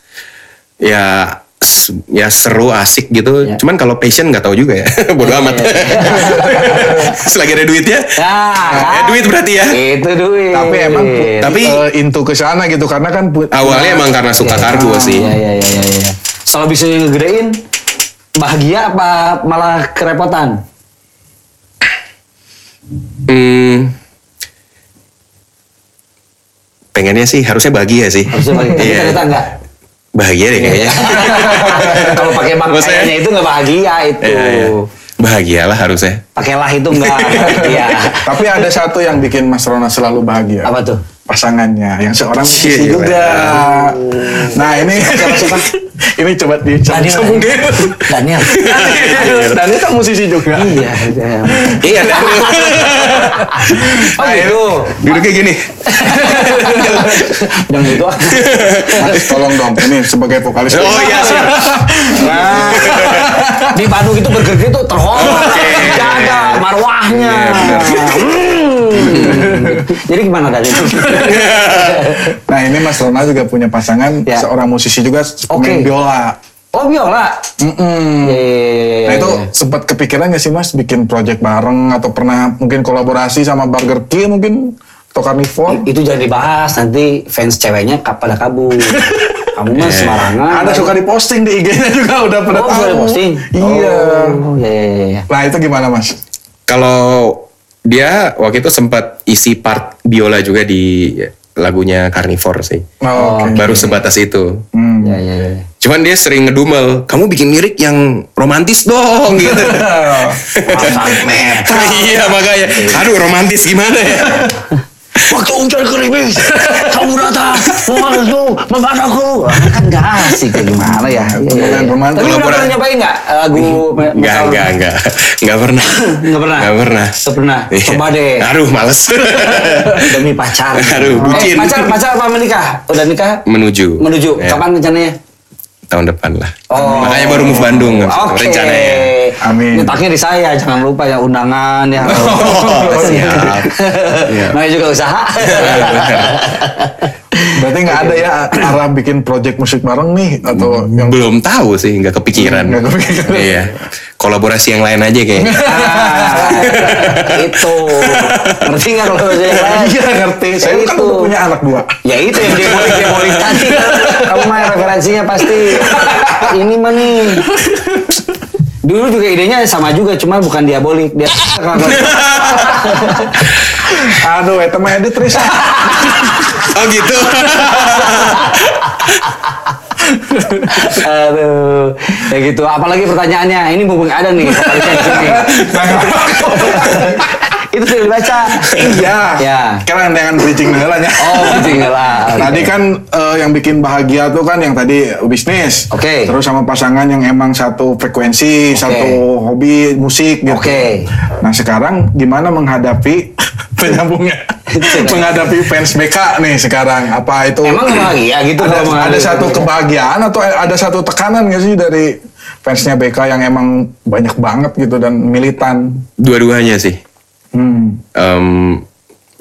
C: ya s- ya seru asik
B: Ya.
C: gitu.
B: Iya.
C: Cuman kalau passion nggak tahu juga ya. Bodoh amat. Selagi ada duitnya.
B: Nah,
C: Eh, duit berarti ya.
B: Itu duit.
A: Tapi emang
B: Duit.
C: Tapi-
A: eh, into ke sana gitu karena kan pu-
C: Awalnya emang karena suka kargo
B: Ah,
C: sih.
B: Iya iya iya iya. iya. Kalau bisa ngegedein bahagia apa malah kerepotan?
C: Hmm, pengennya sih harusnya bahagia sih.
B: Harusnya bahagia. Tapi Iya.
C: Iya.
B: ternyata enggak.
C: Bahagia deh kayaknya.
B: Kalau pakai bang
C: Maksudnya-
B: kayaknya itu enggak bahagia itu.
C: Iya, iya. Bahagialah harusnya.
B: Pakailah itu enggak. Iya.
A: Tapi ada satu yang bikin Mas Rona selalu bahagia.
B: Apa tuh?
A: Pasangannya yang seorang
B: Iya,
A: musisi
C: Gila.
A: juga. Nah ini
B: Siapa, siapa?
A: ini coba
B: Daniel.
A: dicambung dulu.
B: Daniel.
A: Daniel kan musisi juga.
B: Iya. iya.
C: Iya.
B: Oh gitu.
C: Duduknya gini.
B: Jangan gitu. ah.
A: Mas, tolong dong ini sebagai vokalis.
C: Oh iya siap.
B: Di Bandung itu bergerak itu terhormat,
C: Oke.
B: dijaga marwahnya.
C: Iya, benar.
B: Hmm. Jadi gimana dari
A: Nah ini Mas Rona juga punya pasangan
B: Ya.
A: seorang musisi juga
B: Oke.
A: pemain biola.
B: Oh biola.
A: Mm-mm.
B: Iya, iya, iya, iya,
A: Hmm. Nah itu
B: iya.
A: sempat kepikiran nggak sih Mas bikin project bareng atau pernah mungkin kolaborasi sama Burger King mungkin atau Carnivore?
B: itu jangan dibahas nanti fans ceweknya kap- pada kabur. Kamu mah sembarangan.
A: Eh, Ada suka diposting di IG-nya juga udah pada
B: Ah, Oh,
A: tahu.
B: suka diposting.
A: Iya.
B: Oh, iya, iya, iya, iya.
A: Nah itu gimana Mas?
C: Kalau dia waktu itu sempat isi part biola juga di lagunya Carnivore sih.
A: Oh, oke.
C: Baru sebatas itu.
A: Hmm.
B: Iya, iya, iya.
C: Cuman dia sering ngedumel, kamu bikin lirik yang romantis dong gitu. iya makanya, aduh romantis gimana ya?
B: Waktu hujan gerimis, kamu datang, memanasku, memanaku. Kan nggak asik ya gimana ya. Iya, iya,
A: Bukan
B: iya.
A: romantis.
D: Tapi lu
C: Laporan.
D: pernah nyobain nggak eh, lagu me-
C: Enggak,
D: metal?
C: enggak, enggak. Enggak pernah.
D: Nggak pernah?
C: Enggak pernah.
D: Nggak pernah.
C: Iya.
D: Coba deh.
C: Aduh, males.
B: Demi pacar.
C: Aduh,
D: Eh,
C: bucin. Mm.
D: pacar, pacar apa menikah? Udah nikah?
C: Menuju.
D: Menuju.
C: Ya,
D: Kapan rencananya?
C: Tahun depan lah.
D: Oh.
C: Makanya baru move Bandung. ya.
D: Oke.
C: Rencananya.
A: Amin.
B: Letaknya di saya, jangan lupa ya undangan ya.
C: Oh, siap. Iya.
B: Namanya juga usaha.
A: Berarti nggak ada ya arah bikin project musik bareng nih atau yang
C: belum tahu sih nggak kepikiran
A: Nggak kepikiran.
C: iya kolaborasi yang lain aja kayaknya
B: Ah, itu. Ngerti nggak kalau bahasa yang lain?
A: Iya ngerti. Saya
B: Ya
A: kan
B: itu.
A: udah punya anak dua.
B: Ya itu yang dia boleh dia boleh tadi. Kamu mah referensinya pasti. Ini mah nih. Dulu juga idenya sama juga, cuma bukan diabolik. Dia
A: Aduh, itu mah edit Riz.
C: oh gitu
B: Aduh, ya gitu. Apalagi pertanyaannya, ini mumpung ada nih vokalisnya di sini. itu sudah dibaca.
A: Iya.
B: Ya.
A: Sekarang dengan bridging nanya.
B: Oh, ketinggalan.
A: Tadi kan eh, yang bikin bahagia tuh kan yang tadi bisnis.
B: Oke.
A: Terus sama pasangan yang emang satu frekuensi, satu hobi musik gitu.
B: Oke.
A: Nah, sekarang gimana menghadapi penyambungnya? menghadapi fans BK nih sekarang. Apa itu?
B: Emang bahagia gitu kalau
A: ada, ada
B: menghadapi
A: satu
B: BK?
A: kebahagiaan atau eh, ada satu tekanan nggak sih dari fansnya BK yang emang banyak banget gitu dan militan?
C: dua-duanya sih
A: Hmm.
C: Em,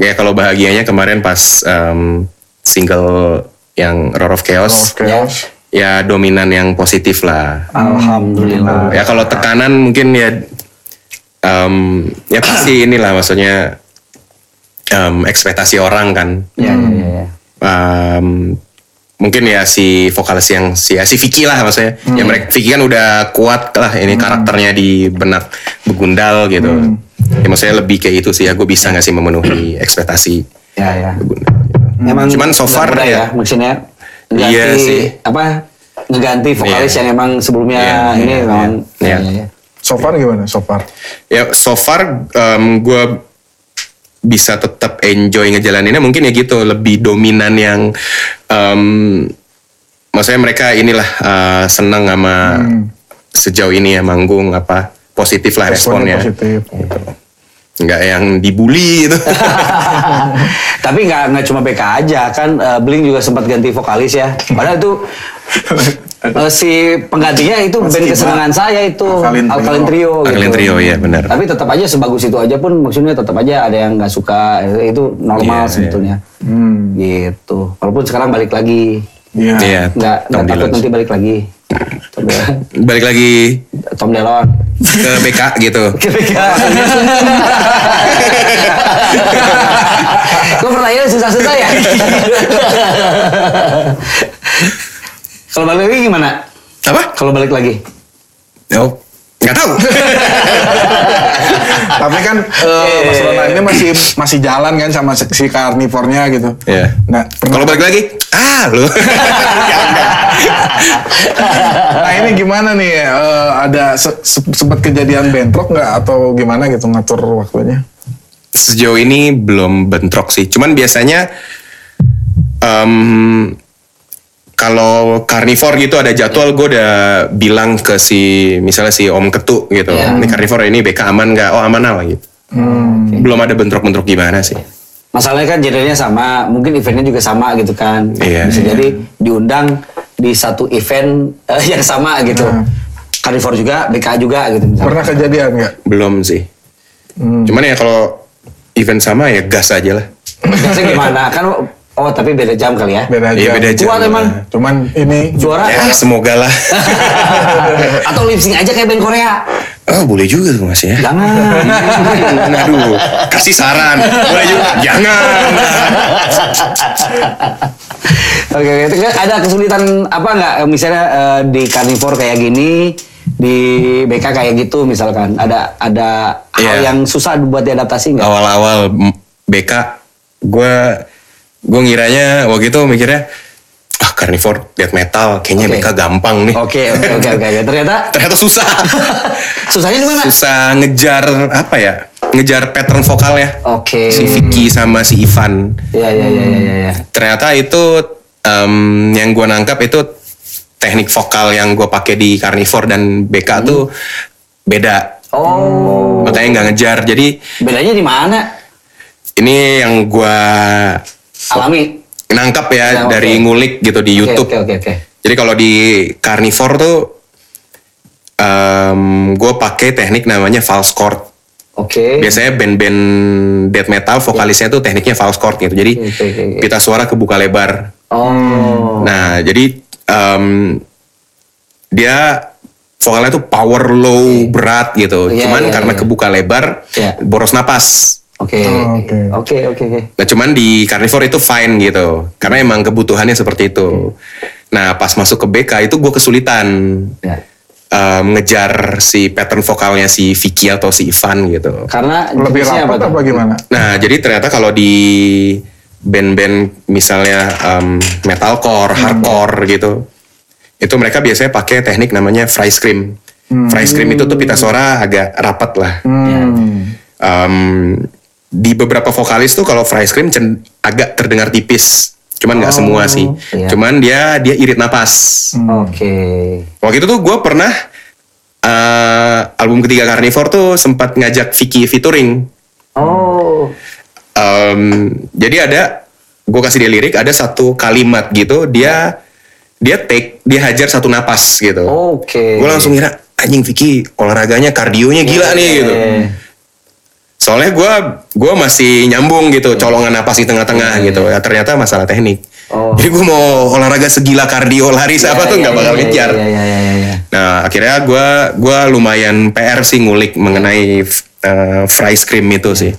C: ya kalau bahagianya kemarin pas em, single yang Roar of Chaos
A: Oke.
B: Ya.
C: ya dominan yang positif lah
B: Alhamdulillah.
C: ya kalau tekanan mungkin ya em, ya pasti inilah maksudnya em, ekspektasi orang kan
B: Ya, ya, ya, ya.
C: um, mungkin ya si vokalis yang si ya si Vicky lah maksudnya ya mereka Vicky kan udah kuat lah ini karakternya di benak begundal gitu ya maksudnya lebih kayak itu sih ya gue bisa nggak sih memenuhi ekspektasi
B: Ya, ya.
C: begundal gitu. cuman so far
B: mudah-mudah
C: ya,
B: ya maksudnya
C: Iya
B: ganti-
C: sih.
B: apa ngeganti vokalis
C: Iya.
B: yang emang sebelumnya
C: Iya,
B: ini
C: iya,
B: memang
C: iya.
B: Iya, iya.
A: So far gimana? So far?
C: ya so far gue bisa tetap enjoy ngejalaninnya mungkin ya gitu lebih dominan yang um, maksudnya mereka inilah uh, senang sama
A: Hmm.
C: sejauh ini ya manggung apa positif lah responnya
A: positif.
C: nggak yang dibully gitu
B: tapi nggak nggak cuma BK aja kan eh, Blink juga sempat ganti vokalis ya padahal itu eh, si penggantinya itu band
A: Kiba.
B: kesenangan saya itu
A: Alkaline
B: Alkaline
A: Trio.
B: Trio gitu.
C: Alkaline Trio, iya, benar.
B: tapi tetap aja sebagus itu aja pun maksudnya tetap aja ada yang nggak suka itu- itu normal
C: Iya, iya.
B: sebetulnya
A: Hmm.
B: gitu walaupun sekarang balik lagi
A: Iya.
C: Iya.
B: nggak nggak
C: Tom
B: takut
C: Dillon.
B: nanti balik lagi Tom Dillon.
C: balik lagi
B: Tom Delon
C: ke BK gitu
B: Lo pertanyaannya susah-susah ya? Kalau balik lagi gimana?
C: apa
B: Kalau balik lagi?
C: oh nggak tahu
A: Tapi kan eh, Mas Rona ini masih masih jalan kan sama si si karnivornya gitu.
C: Iya.
A: Nah, pernah-
C: kalau balik lagi ah lu
A: nah ini gimana nih? eh, ada se- se- sempat kejadian bentrok nggak atau gimana gitu ngatur waktunya?
C: sejauh ini belum bentrok sih. Cuman biasanya em, kalau carnivore gitu ada jadwal gue udah bilang ke si misalnya si Om Ketu gitu.
B: Iya.
C: Ini carnivore ini BK aman nggak? Oh aman lah gitu.
A: Hmm,
C: Belum ada bentrok-bentrok gimana sih?
B: Masalahnya kan jadinya sama, mungkin eventnya juga sama gitu kan.
C: Iya,
B: Bisa
C: iya.
B: jadi diundang di satu event eh, yang sama gitu.
A: Nah.
B: Carnivore juga, BK juga gitu. misalnya.
A: Pernah kejadian nggak?
C: Belum sih.
A: Hmm.
C: Cuman ya kalau event sama ya gas aja lah.
B: Biasanya gimana? Kan oh tapi beda jam kali ya?
A: Beda ya. aja.
C: Iya, beda aja.
B: Kuat emang.
A: Cuman ini
B: Juara
C: Ya semoga lah.
B: atau lip sync aja kayak band Korea?
C: Oh boleh juga tuh mas ya.
B: Jangan.
C: Hmm, Aduh, kasih saran. Boleh juga. Jangan.
B: Oke, oke. Itu kan ada kesulitan apa nggak? Misalnya eh, di carnivore kayak gini, di BK kayak gitu misalkan. Ada ada hal
C: Iya. Oh,
B: yang susah buat diadaptasi nggak?
C: awal-awal m- BK gue gue ngiranya waktu itu mikirnya ah carnivore death metal kayaknya
B: Oke.
C: BK gampang nih
B: Oke, oke, oke, oke. oke. Ternyata
C: ternyata susah
B: susahnya di mana?
C: susah ngejar apa ya ngejar pattern vokal ya
B: Oke.
C: si Vicky sama si Ivan
B: Ya, ya, ya, ya, ya, ya.
C: ternyata itu em, yang gua nangkap itu teknik vokal yang gua pakai di carnivore dan BK
B: Hmm.
C: tuh beda
B: Oh,
C: makanya nggak ngejar jadi
B: bedanya di mana?
C: ini yang gua
B: Alami.
C: nangkap
B: Nah,
C: ya
B: oke.
C: dari ngulik gitu di
B: Oke,
C: YouTube
B: Oke, oke, oke.
C: Jadi kalau di carnivore tuh gue pakai teknik namanya false chord.
B: Oke.
C: Biasanya band-band death metal vokalisnya tuh tekniknya false chord gitu. Jadi
B: Oke, oke, oke.
C: pita suara kebuka lebar.
B: Oh.
C: Nah, jadi em, dia vokalnya tuh power low berat gitu.
B: Iya, iya,
C: cuman karena
B: iya.
C: kebuka lebar,
B: Iya.
C: boros napas.
B: Oke.
A: Oh, oke.
B: Oke, oke, oke.
C: Nah, cuman di carnivore itu fine gitu. Karena emang kebutuhannya seperti
B: Iya.
C: itu. Nah, pas masuk ke BK itu gue kesulitan
B: Ya.
C: eh, ngejar si pattern vokalnya si Vicky atau si Ivan gitu.
B: Karena
A: Lebih
B: jenisnya
A: rapat
B: tuh?
A: apa gimana?
C: Nah, jadi ternyata kalau di band-band misalnya em, metalcore, hardcore gitu, itu mereka biasanya pakai teknik namanya fry scream. Fry scream itu tuh pita suara agak rapat lah.
A: Hmm.
C: Em, di beberapa vokalis tuh kalau fry scream cen- agak terdengar tipis, cuman nggak semua sih.
B: iya.
C: Cuman dia dia irit napas.
B: Oke.
C: Waktu itu tuh gue pernah eh, album ketiga Carnivore tuh sempat ngajak Vicky featuring.
B: Oh.
C: Em, jadi ada gue kasih dia lirik ada satu kalimat gitu dia dia take dia hajar satu napas gitu.
B: Oh, Oke. Iya,
C: Gue langsung ngira anjing Vicky olahraganya kardionya gila nih gitu. Soalnya gue gua masih nyambung gitu
B: Iya.
C: colongan napas di tengah-tengah gitu. Ya, ternyata masalah teknik.
B: Oh.
C: Jadi gue mau olahraga segila kardio lari apa tuh nggak bakal ngejar.
B: Iya, iya, iya, iya.
C: Nah, akhirnya gue gua lumayan PR sih ngulik mengenai eh, fry cream itu sih.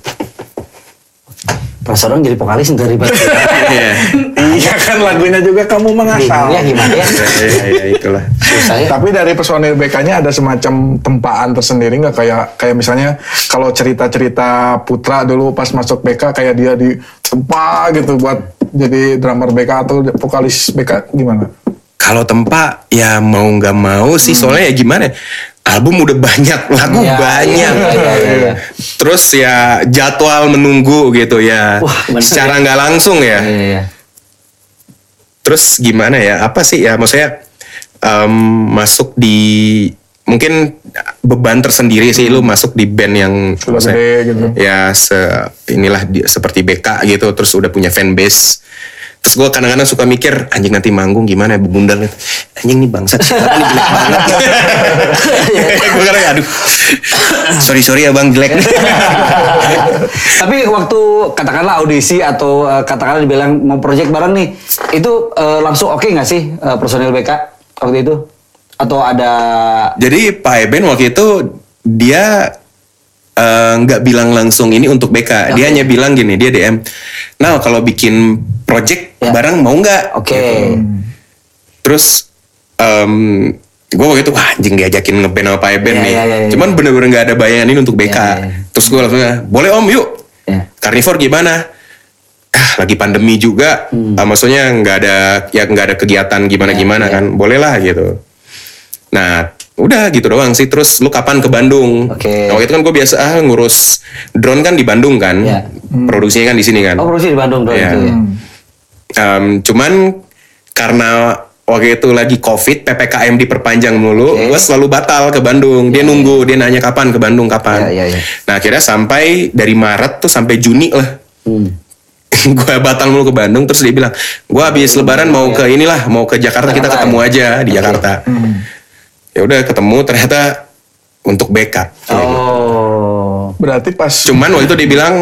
E: Pas orang jadi vokalis dari
C: Iya,
A: Iya kan lagunya juga kamu mengasal.
E: Bingungnya gimana ya?
C: Iya, iya, iya, itulah.
B: ya.
E: Saya
A: Tapi dari personil BK-nya ada semacam tempaan tersendiri nggak kayak kayak misalnya kalau cerita-cerita Putra dulu pas masuk BK kayak dia di tempa gitu buat jadi drummer BK atau vokalis BK gimana?
C: Kalau tempa ya mau nggak mau sih
B: Hmm.
C: soalnya ya gimana? ya, Album udah banyak, lagu
B: Iya,
C: banyak.
B: iya, iya, iya, iya.
C: Terus ya jadwal menunggu gitu ya.
B: Wah, bener.
C: secara nggak langsung ya.
B: Iya, iya.
C: Terus gimana ya? Apa sih ya? Maksudnya em, masuk di mungkin beban tersendiri sih lu masuk di band yang
A: Udah
C: maksudnya-
A: gede gitu.
C: ya se inilah di- seperti BK gitu terus udah punya fanbase terus gue kadang-kadang suka mikir anjing nanti manggung gimana ya bundal anjing nih bangsa siapa nih jelek banget gue kadang aduh sorry sorry ya bang jelek
B: Tapi waktu katakanlah audisi atau eh, katakanlah dibilang mau project bareng nih, itu eh, langsung oke nggak sih eh, personil BK waktu itu? Atau ada
C: jadi Pak Eben waktu itu dia eh, nggak bilang langsung ini untuk BK dia hanya bilang gini dia DM nah kalau bikin project
B: Ya.
C: bareng mau nggak
B: oke?
C: Gitu. Terus gue waktu itu wah anjing diajakin ngeband sama Pak Eben
B: Iya,
C: nih.
B: iya, iya, iya.
C: Cuman bener-bener nggak ada bayangan ini untuk BK.
B: Iya, iya, iya.
C: Terus gue langsung boleh om yuk.
B: Iya.
C: Carnivore gimana? Ah, lagi pandemi juga,
B: Hmm.
C: Ah, maksudnya nggak ada ya nggak ada kegiatan
B: Iya,
C: gimana-gimana kan, boleh lah gitu. Nah, udah gitu doang sih. Terus lu kapan ke Bandung?
B: Oke.
C: Nah, waktu itu kan gue biasa ah, ngurus drone kan di Bandung kan,
B: Iya.
C: produksinya kan di sini kan.
B: Oh produksi di Bandung dong
C: Iya.
B: itu ya.
A: Hmm.
C: Em, cuman karena waktu itu lagi covid ppkm diperpanjang mulu
B: Oke.
C: gue selalu batal ke Bandung dia nunggu dia nanya kapan ke Bandung kapan
B: Iya, iya, iya.
C: nah akhirnya sampai dari Maret tuh sampai Juni lah
B: Hmm.
C: gue batal mulu ke Bandung terus dia bilang gue habis lebaran mau ke inilah mau ke Jakarta
B: Iya,
C: kita
B: Jakarta,
C: ketemu
B: ya?
C: aja di Jakarta
A: Hmm.
C: ya udah ketemu ternyata untuk BK
B: Oh.
A: Berarti pas
C: cuman waktu itu dia bilang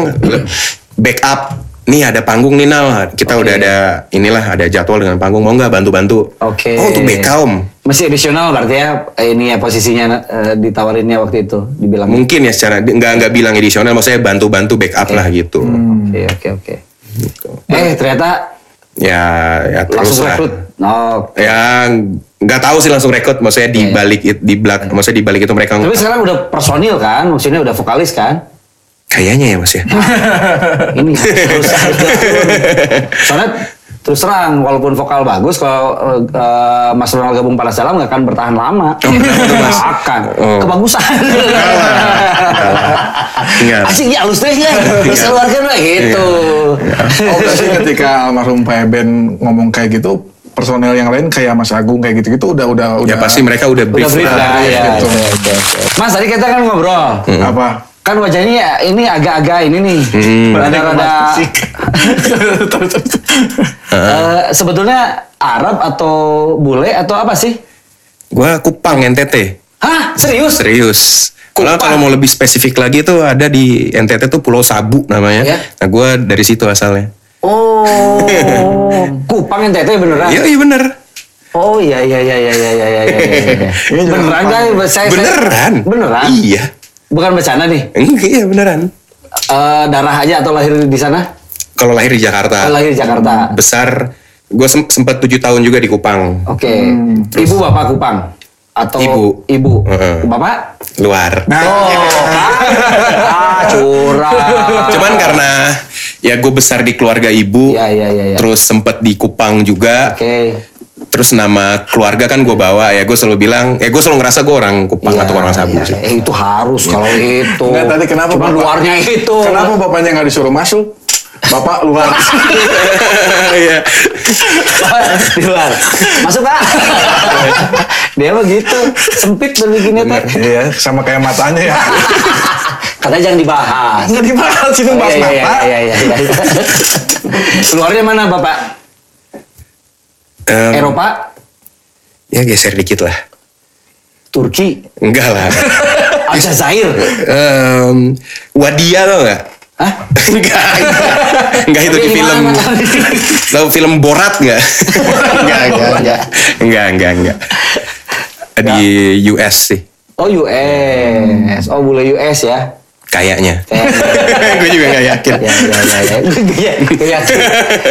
C: backup nih ada panggung nih Nal kita udah ada inilah ada jadwal dengan panggung mau nggak bantu-bantu
B: Oke.
C: oh untuk BK om
B: Masih additional berarti ya eh, ini ya posisinya eh, ditawarinnya waktu itu dibilang. Oke
C: mungkin ya secara nggak nggak bilang edisional maksudnya bantu-bantu backup lah gitu
B: Hmm. oke oke. Eh ternyata
C: ya ya Gitu. terus
B: langsung
C: lah.
B: rekrut. Oh.
C: ya nggak tahu sih langsung rekrut maksudnya di balik it- di belak maksudnya di balik itu mereka
B: Tapi sekarang udah personil kan, maksudnya udah vokalis kan?
C: kayaknya ya mas ya
B: ini harus harus diatur. soalnya terus terang walaupun vokal bagus kalau eh, eh, Mas Ronald gabung pada Salam nggak akan bertahan lama.
C: kenapa tuh, Mas?
B: Oh, Nggak akan.
C: Oh.
B: Kebagusan.
C: Iya.
B: Asik ya halus deh ya. Bisa keluarkan lah gitu.
A: Oh, berarti ketika almarhum Pak Ben ngomong kayak gitu, personel yang lain kayak Mas Agung kayak gitu-gitu udah udah
C: ya
A: udah
C: pasti mereka udah brief
B: brief lah.
C: lah.
B: ya.
A: gitu.
B: Mas tadi kita kan ngobrol.
A: Apa?
B: Kan wajahnya ya ini agak-agak ini nih. Rada-rada Eh, sebetulnya Arab atau bule atau apa sih?
C: Gua Kupang NTT.
B: Hah? Serius?
C: Serius. Kalau kalau mau lebih spesifik lagi tuh ada di NTT tuh Pulau Sabu namanya.
B: Iya.
C: Nah, gua dari situ asalnya.
B: Oh. Kupang NTT beneran?
C: Iya, iya bener.
B: Oh iya iya iya iya iya iya iya. iya, iya.
A: Ini juga
B: beneran
A: Kupang.
B: guys, saya, saya-
C: Beneran?
B: beneran.
C: Iya.
B: Bukan bercanda nih.
C: Enggak, iya beneran.
B: Eh, darah aja atau lahir di sana?
C: Kalau lahir di Jakarta.
B: Eh, lahir di Jakarta.
C: Besar gua sem- sempat 7 tahun juga di Kupang.
B: Oke. Ibu bapak Kupang atau
C: Hmm. Ibu.
B: ibu.
C: Heeh.
B: Bapak? Oh,
C: Luar.
A: Nah,
B: Ah, curang.
C: Cuman karena ya gue besar di keluarga ibu,
B: Iya, iya, iya, iya.
C: terus sempet di Kupang juga,
B: Oke.
C: terus nama keluarga kan gue bawa ya gue selalu bilang, ya gue selalu ngerasa gue orang Kupang
B: Iya,
C: atau orang Sabu
B: iya,
C: sih.
B: iya. Eh, itu harus kalau itu.
A: Nggak, tadi kenapa
B: Cuman
A: Bapak-
B: luarnya itu.
A: Kenapa bapaknya nggak disuruh masuk? Bapak luar.
C: Iya.
B: di luar? Masuk pak. Dia mah gitu. Sempit berbikinnya teh.
A: Iya, sama kayak matanya ya.
B: Katanya jangan dibahas.
A: Nggak dibahas itu
B: Oh, iya,
A: bahas
B: iya,
A: mata.
B: iya, iya, iya, iya. Luarnya mana bapak?
C: Em,
B: Eropa?
C: ya geser dikit lah.
B: Turki?
C: Enggak lah.
B: Aljazair?
C: Em, Wadia tau nggak?
B: Hah?
C: Enggak, enggak. Enggak itu di
B: Tapi
C: film.
B: gimana?
C: Tahu film Borat nggak? enggak, enggak, enggak. Enggak, enggak, enggak. Eh, Di US sih,
B: Oh US, oh bule US ya.
C: kayaknya.
B: Kayak-
C: gue juga nggak yakin.
B: ya ya ya ya Iya, nggak yakin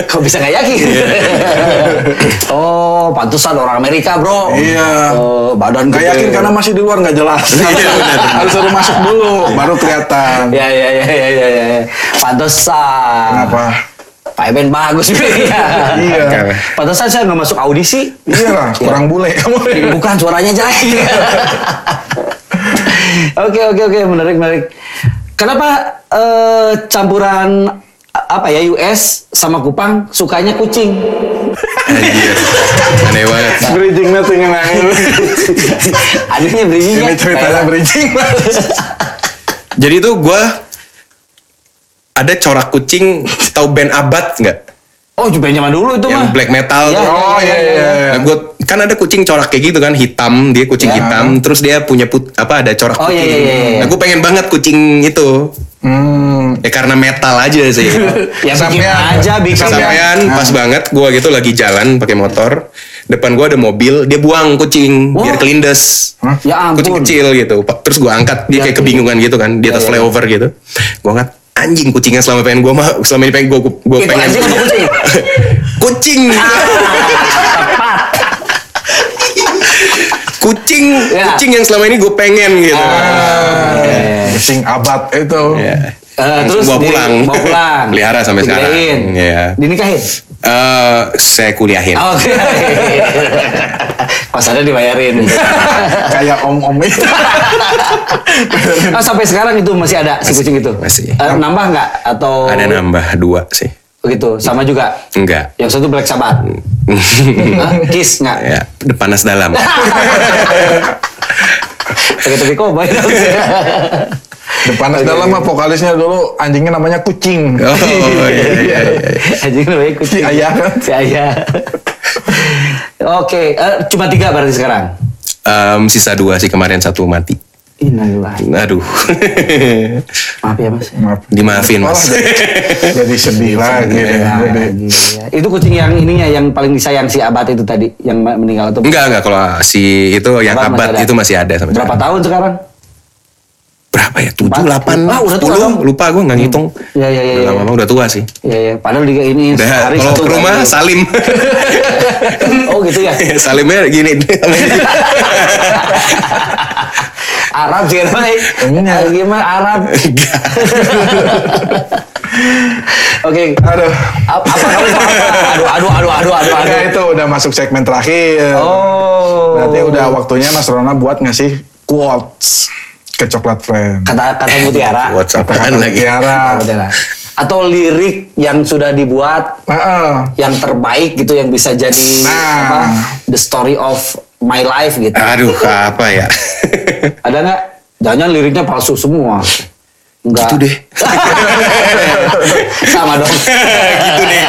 B: kok bisa nggak yakin
A: Iya.
B: oh pantesan orang Amerika bro
A: Iya.
B: Oh, badan
A: Nggak
B: gede.
A: yakin karena masih di luar nggak jelas. Iya, Harus Iya. suruh masuk dulu, baru kelihatan.
B: ya ya ya ya ya ya pantesan
A: Kenapa?
B: Pak Eben bagus
A: Iya.
B: pantesan saya nggak masuk audisi
A: Iya lah, kurang bule. Iya.
B: bukan suaranya jelek oke oke oke menarik menarik kenapa eh, campuran apa ya US sama Kupang sukanya kucing
C: Anjir. Aneh banget.
A: Bridgingnya tuh yang lain.
B: Adanya bridgingnya.
A: Ini ceritanya bridging.
C: Jadi tuh gue ada corak kucing tahu band abad nggak?
B: Oh, juga zaman dulu itu mah.
C: Yang black metal
B: Iya,
C: tuh.
A: Oh iya iya. iya.
C: Nah, gua- kan ada kucing corak kayak gitu kan hitam dia kucing hitam terus dia punya put apa ada corak
B: Iya. Oh, iya,
C: putih.
B: iya, iya, iya.
C: Nah, gue pengen banget kucing itu
A: Hmm.
C: ya karena metal aja sih.
B: Ya bikin
A: Sampean.
B: aja bikin.
C: Kesampaian pas banget gua gitu lagi jalan pakai motor depan gua ada mobil dia buang kucing biar
B: Wah.
C: kelindes.
A: Hah?
B: Ya
C: kucing
B: ampun.
C: kecil gitu Pa- terus gua angkat dia
B: Ya,
C: kayak
B: iya.
C: kebingungan gitu kan di atas
B: Ya, ya.
C: flyover gitu Gua angkat anjing kucingnya selama pengen gua mah selama ini pengen gua gua
B: Itu
C: pengen
B: Eh, anjing apa kucing? ya? Ah,
C: kucing kucing
B: Ya. Ah.
C: kucing yang selama ini gue pengen gitu Iya.
A: Bridging Iya. abad itu.
C: Ya.
B: Eh,
C: Langsung
B: terus
C: gua
B: di-
C: pulang
B: bawa pulang.
C: pelihara sampai sekarang
B: Digedein.
C: Iya.
B: Dinikahin.
C: Eh, saya kuliahin
B: Oh, Oke. Kosannya dibayarin.
A: Kayak om-om itu.
B: Oh, sampai sekarang itu masih ada si
C: Masih,
B: kucing itu.
C: masih.
B: Eh, nambah nggak atau
C: ada nambah dua sih
B: Begitu, sama juga.
C: enggak
B: Yang satu Black Sabbath. Hah? Kiss nggak?
C: Hmm. ya depanas dalam
B: Tegi-tegi kobay dong.
A: Depanas dalam mah vokalisnya dulu anjingnya namanya kucing.
C: iya, oh iya iya iya
B: Anjing namanya kucing.
A: Si ayah kan?
B: Si ayah. Oke, eh, cuma tiga berarti sekarang.
C: Em, sisa dua sih kemarin satu mati
B: Innalillahi.
C: aduh
B: Maaf ya mas.
A: Maaf.
C: dimaafin mas
A: Malah jadi, jadi sedih lagi.
C: Iya.
A: Jadi,
B: Iya. Itu kucing yang ininya yang paling disayang si abad itu tadi yang ma- meninggal itu.
C: enggak enggak kalau si itu yang
B: Abad masih
C: Iya, abad
B: ada.
C: itu masih ada sampai
B: Berapa
C: sekarang.
B: tahun sekarang?
C: berapa ya tujuh
B: Empat.
C: delapan
B: Ah, udah tua dong.
C: sepuluh lupa gue nggak ngitung
B: Iya, iya, iya,
C: Udah
B: iya.
C: lama-lama udah tua sih
B: Iya, iya. Padahal dia ini
C: udah
B: sehari
C: kalau
B: satu
C: ke rumah
B: kali.
C: salim
B: Oh gitu ya.
C: salimnya gini
B: Arab sih kan eh.
A: Emangnya?
B: Ah, Gimana Arab? Oke.
A: Aduh.
B: Apa apa kamu sama apa? Aduh aduh aduh aduh aduh
A: Nah,
B: aduh.
A: itu udah masuk segmen terakhir.
B: Oh.
A: Berarti udah waktunya Mas Rona buat ngasih quotes ke Coklat Friend.
B: kata kata mutiara.
C: WhatsAppan
A: Kata-kata
C: lagi.
A: Tiara.
B: Kata mutiara. Atau lirik yang sudah dibuat
A: Heeh.
B: yang terbaik gitu yang bisa jadi
A: Nah.
B: apa? The story of my life gitu.
C: Aduh, apa ya?
B: Ada nggak? Jangan liriknya palsu semua. Enggak.
C: Gitu deh.
B: Sama dong. gitu deh.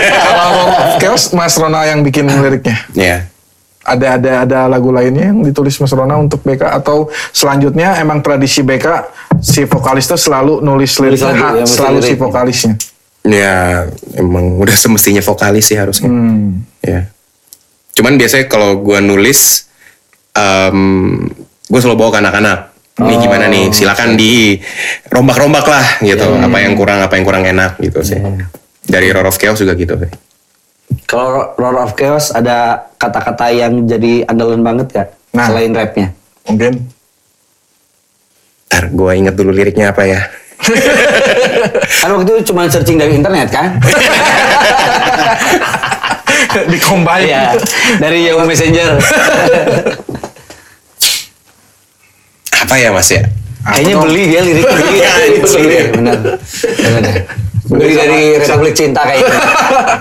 A: Kalau chaos Mas Rona yang bikin liriknya.
C: Ya.
A: Ada ada ada lagu lainnya yang ditulis Mas Rona untuk BK atau selanjutnya emang tradisi BK si vokalis tuh selalu nulis lirik
B: lagu,
A: hak,
B: ya, nulis
A: selalu si
B: lirik.
A: vokalisnya.
C: Ya, emang udah semestinya vokalis sih harusnya.
A: Hmm.
C: Ya. Cuman biasanya kalau gua nulis, gue selalu bawa ke anak-anak. Ini gimana nih? Silakan di rombak-rombak lah gitu. Apa yang kurang, apa yang kurang enak gitu sih. Dari Roar of Chaos juga gitu sih.
B: Kalau Roar of Chaos ada kata-kata yang jadi andalan banget ya?
A: Nah.
B: Selain rapnya.
A: Mungkin
C: Ntar gue inget dulu liriknya apa ya.
B: Kan waktu itu cuma searching dari internet kan?
A: dikombin.
B: Iya. dari Yahoo Messenger.
C: Apa ya mas ya?
B: Kayaknya beli dia lirik beli.
C: Iya, ini beli.
B: Beli, benar. Benar. deh. Beli dari Republik Cinta kayaknya.
A: Ah,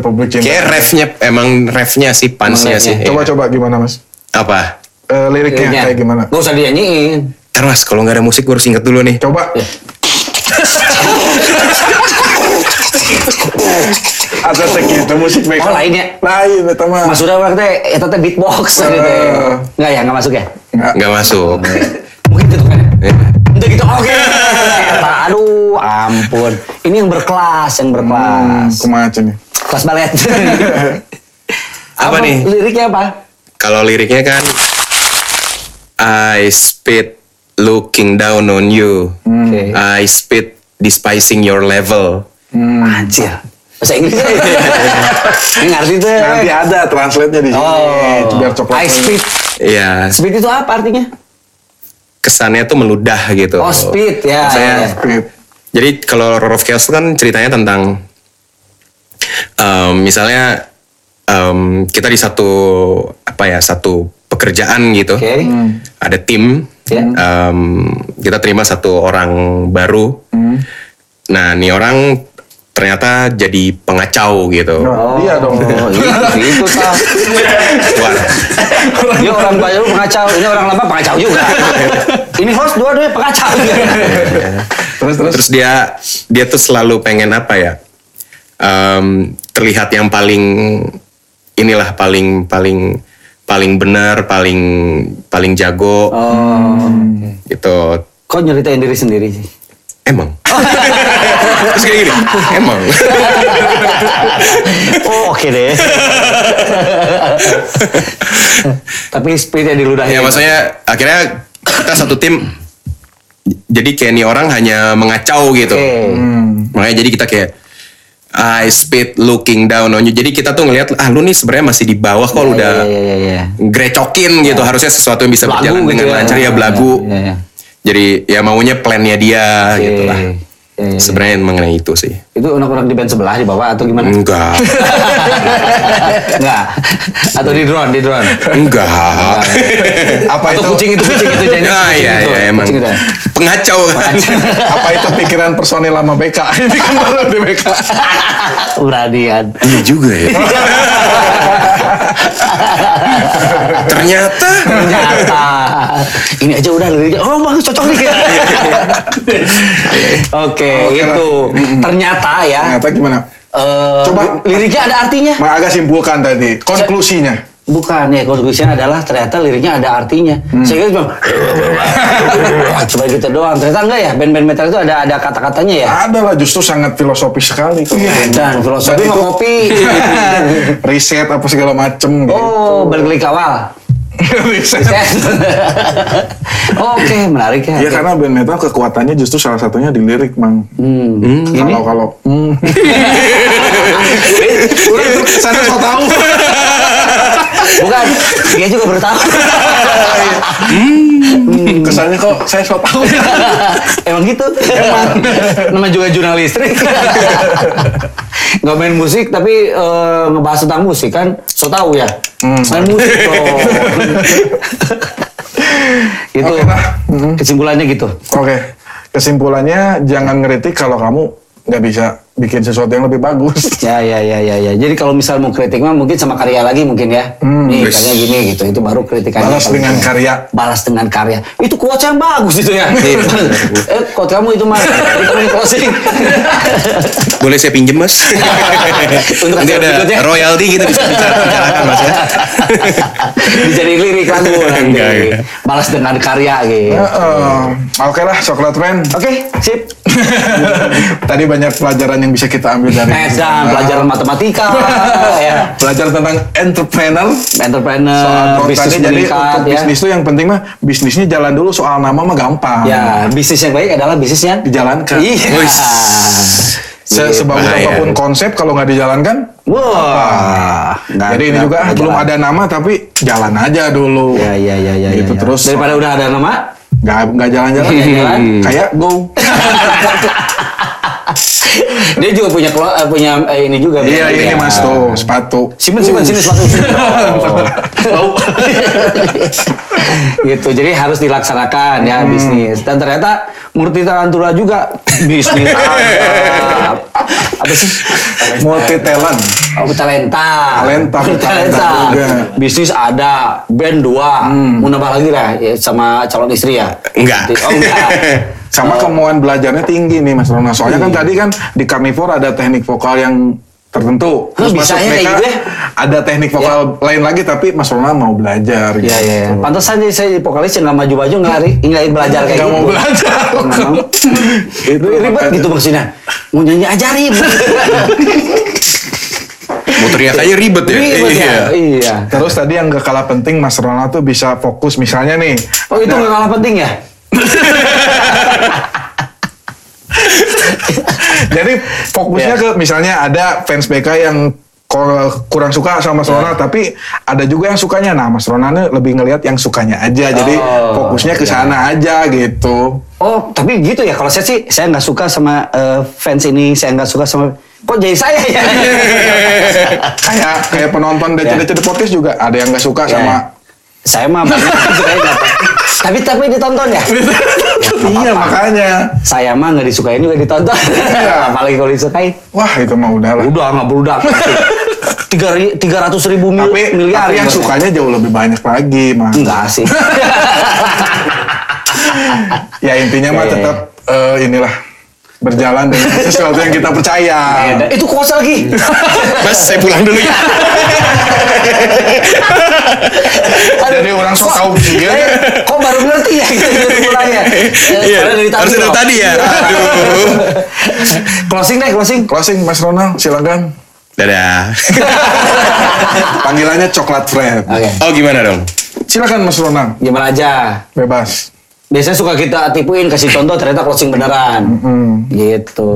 A: Republik Cinta.
C: Kayak refnya, emang refnya sih, pansnya
B: Emang
C: sih.
A: Coba
C: Iya.
A: coba gimana Mas?
C: Apa?
A: Eh, liriknya
B: Liriknya.
A: kayak gimana?
B: Gak usah dinyanyiin.
C: Ntar mas, kalau nggak ada musik gue harus inget dulu nih.
A: Coba.
B: Iya.
A: Ada segitu musik BK.
B: Oh, lain ya?
A: Lain eta mah.
B: Mas udah waktu itu eta teh beatbox gitu. ya.
A: Eh.
B: Enggak ya, enggak masuk ya?
A: Nggak.
C: Nggak masuk.
B: Mungkin gitu kan. ya?
C: Ya.
B: Untuk gitu oke. Eta, aduh, ampun. Ini yang berkelas, yang
A: Hmm, ya.
B: berkelas.
A: kumaha cenah?
B: Kelas balet.
C: Apa nih?
B: Liriknya apa?
C: Kalau liriknya kan I spit looking down on you.
A: Hmm.
B: Oke.
C: I spit despising your level.
A: hmm.
B: Anjir. Bahasa Inggris. ya? Ini ngerti tuh.
A: Nanti ada translate-nya di sini.
B: Oh.
A: Biar coklat.
B: I speed.
C: Ya,
B: Speed itu apa artinya?
C: kesannya tuh meludah gitu.
B: Oh, speed, ya,
C: Saya,
B: ya, ya.
A: Speed.
C: Jadi kalau Roar of Chaos itu kan ceritanya tentang em, misalnya em, kita di satu apa ya satu pekerjaan gitu.
B: Oke.
A: Hmm.
C: Ada tim.
B: Ya.
C: em, kita terima satu orang baru.
A: Hmm.
C: Nah, ini orang ternyata jadi pengacau
B: Hmm.
C: gitu.
A: Nah, Iya dong.
B: Oh, itu, itu Tal.
C: Wah,
B: Dia orang Bayu pengacau, ini orang lama pengacau juga. ini host dua-duanya pengacau.
A: Terus terus.
C: Terus dia dia tuh selalu pengen apa ya? Em, terlihat yang paling inilah paling paling paling benar, paling paling jago gitu.
B: Oh. Kok nyeritain diri sendiri sih?
C: Emang. Terus kayak gini, emang.
B: Oh, oke deh. Tapi speednya di ludah.
C: ya maksudnya akhirnya kita satu tim. Jadi kayak ini orang hanya mengacau gitu.
B: Oke. Hmm.
C: Makanya jadi kita kayak I speed looking down on you. Jadi kita tuh ngelihat ah lu nih sebenarnya masih di bawah kok lu udah
B: Iya, iya, iya, iya.
C: grecokin gitu. Harusnya sesuatu yang bisa
B: Belagu Iya.
C: berjalan
B: gitu
C: dengan
B: ya.
C: lancar ya belagu.
B: Iya, iya.
C: Jadi ya maunya plannya dia
B: Oke.
C: gitu lah.
B: Iya, iya.
C: Sebenarnya mengenai itu sih.
B: Itu anak-anak di band sebelah di bawah atau gimana?
C: Enggak.
B: Enggak. Atau di drone, di drone.
C: Enggak.
A: Apa
B: Atau
A: itu?
B: kucing itu, kucing itu jangan. gitu.
C: Ah
B: kucing
C: iya
B: itu.
C: iya emang.
B: Kucing itu.
C: Pengacau.
A: Apa itu pikiran personil lama BK? Ini kan baru di BK.
B: Uradian.
C: Iya juga ya. Ternyata
B: Ternyata. Ini aja udah liriknya. Oh, bagus cocok nih. Oke,
A: Oke lah.
B: itu. Ternyata ya.
A: Ternyata gimana?
B: eh,
A: Coba.
B: liriknya ada artinya.
A: Mak agak simpulkan tadi konklusinya.
B: Bukan ya, konklusinya adalah ternyata liriknya ada artinya.
A: Hmm.
B: Saya kira cuma cuma gitu doang. Ternyata enggak ya, band-band metal itu ada ada kata-katanya ya.
A: Adalah justru sangat filosofis sekali.
B: Iya, Dan filosofi
A: Dan itu-
B: mau kopi.
A: riset apa segala macem gitu.
B: oh, balik lagi ke awal.
A: riset.
B: Oke, menarik ya.
A: Ya karena band metal kekuatannya justru salah satunya di lirik, Mang. Kalau kalau hmm. Udah tuh sana so tahu.
B: Bukan, dia juga baru tahu. Hmm.
A: kesannya kok saya so tau
B: Emang gitu? Emang. Nama juga jurnalis listrik. Nggak main musik tapi eh, ngebahas tentang musik kan so tau ya.
A: Hmm.
B: Main musik dong. itu
A: Oke, Pak.
B: Gitu.
A: Hmm.
B: kesimpulannya gitu.
A: Oke, kesimpulannya jangan ngeritik kalau kamu nggak bisa bikin sesuatu yang lebih bagus.
B: Ya ya ya ya ya. Jadi kalau misal mau kritik mah mungkin sama karya lagi mungkin ya. Nih
C: wis.
B: karya gini gitu. Itu baru kritikannya.
A: Balas dengan karya.
B: Balas dengan karya. Itu quotes yang bagus itu ya. eh quote kamu itu mah. Itu yang closing.
C: Boleh saya pinjem mas?
B: Untuk
C: Nanti
B: acara
C: ada
B: berikutnya.
C: royalti gitu bisa bicara bicarakan mas ya.
B: Dijadiin lirik lagu nanti.
C: Enggak, enggak.
B: Balas dengan karya gitu.
A: Eh, Heeh. Oke lah, coklat man.
B: ya. Oke, sip.
A: Tadi banyak pelajaran yang bisa kita ambil dari. Ah.
B: Eh, dan pelajaran matematika, ya.
A: Belajar tentang entrepreneur.
B: entrepreneur,
A: Soal
B: Eh, bisnis
A: bisnis jadi
B: meningkat,
A: untuk
B: ya.
A: bisnis tuh yang penting mah bisnisnya jalan dulu soal nama mah gampang.
B: Ya, bisnis yang baik adalah bisnis yang
A: Dijalankan.
B: Iya.
C: Wis.
A: Se- Sebagus
C: Bahaya.
A: apapun konsep kalau nggak dijalankan
B: Wah. nggak-
A: Jadi ini
B: nggak-
A: juga
B: nggak
A: belum
B: Nah, jalan.
A: ada nama tapi jalan aja dulu.
B: Ya, ya, ya, ya. ya,
A: Gitu
B: ya.
A: terus.
B: Daripada udah ada nama,
A: nggak nggak jalan-jalan ya,
B: Nggak jalan.
A: kayak go.
B: dia juga punya kelo- eh, punya eh, ini juga.
A: Iya
B: punya-
A: ini mas tuh sepatu.
B: Simpen, simpen, sini sepatu. sini.
A: Tahu.
B: gitu jadi harus dilaksanakan ya
A: Hmm.
B: bisnis dan ternyata Murti Tarantula juga bisnis apa, apa sih
A: Multi talent.
B: Oh, talenta.
A: Talenta,
B: Talenta.
A: juga. Hmm.
B: Bisnis ada, band dua, mau nambah lagi lah ya, sama calon istri ya.
C: Enggak.
B: Oh, enggak.
A: Sama
B: Oh.
A: kemauan belajarnya tinggi nih mas Rona. Soalnya
B: Iya.
A: kan tadi kan di carnivore ada teknik vokal yang tertentu.
B: Lu bisa ya kayak
A: mereka
B: gitu ya?
A: ada teknik vokal lain lagi tapi mas Rona mau belajar.
B: Iya, iya.
A: gitu.
B: Pantesan jadi saya di vokalis yang nggak maju-maju nggak hari nggak belajar kayak
A: Nggak
B: gitu.
A: mau belajar.
B: Nggak mau.
A: Itu
B: Ribet
A: makanya.
B: gitu maksudnya. Mau nyanyi aja ribet.
C: Mau teriak aja ribet ya.
B: Ribet ya. Iya.
A: Terus tadi yang gak kalah penting Mas Rona tuh bisa fokus misalnya nih.
B: Oh
A: Nah.
B: itu nggak kalah penting ya?
A: Jadi fokusnya
B: Iya.
A: ke misalnya ada fans BK yang ko- kurang suka sama Mas
B: Iya.
A: Rona tapi ada juga yang sukanya. Nah, Mas Rona nih lebih ngelihat yang sukanya aja. Jadi
B: Oh,
A: fokusnya ke sana aja gitu.
B: Oh, tapi gitu ya. Kalau saya sih, saya nggak suka sama eh, fans ini. Saya nggak suka sama. Kok jadi saya ya?
A: Kayak kayak penonton
B: Iya.
A: DC-DC The Podcast juga ada yang gak suka sama
B: saya mah banyak disukain apa? Tapi tapi ditonton ya.
A: Iya, makanya.
B: Saya mah nggak disukain juga ditonton.
A: Iya.
B: Apalagi kalau disukain.
A: Wah, itu mah udah lah.
B: Udah nggak berudak. Tiga tiga ratus ribu mil,
A: Tapi,
B: miliar
A: tapi yang
B: ibaratnya.
A: sukanya jauh lebih banyak lagi, Mas.
B: Enggak sih.
A: ya intinya mah
B: Ya, ya,
A: tetap eh, inilah berjalan dengan sesuatu yang kita percaya.
B: Eh, Itu kuasa lagi. Iya.
C: Mas saya pulang dulu ya.
A: Jadi orang sok tahu gitu ya. dia.
B: Eh, kok baru ngerti ya gitu Eh, mulanya?
C: Iya. Harusnya dari tadi ya. Aduh.
B: closing deh, closing.
A: Closing Mas Ronald, silakan.
C: Dadah.
A: Panggilannya coklat friend.
B: Oke.
C: Oh gimana dong?
A: Silakan Mas Ronald,
B: Gimana aja?
A: bebas.
B: Biasanya suka kita tipuin kasih contoh ternyata closing beneran.
A: Hmm.
B: Gitu.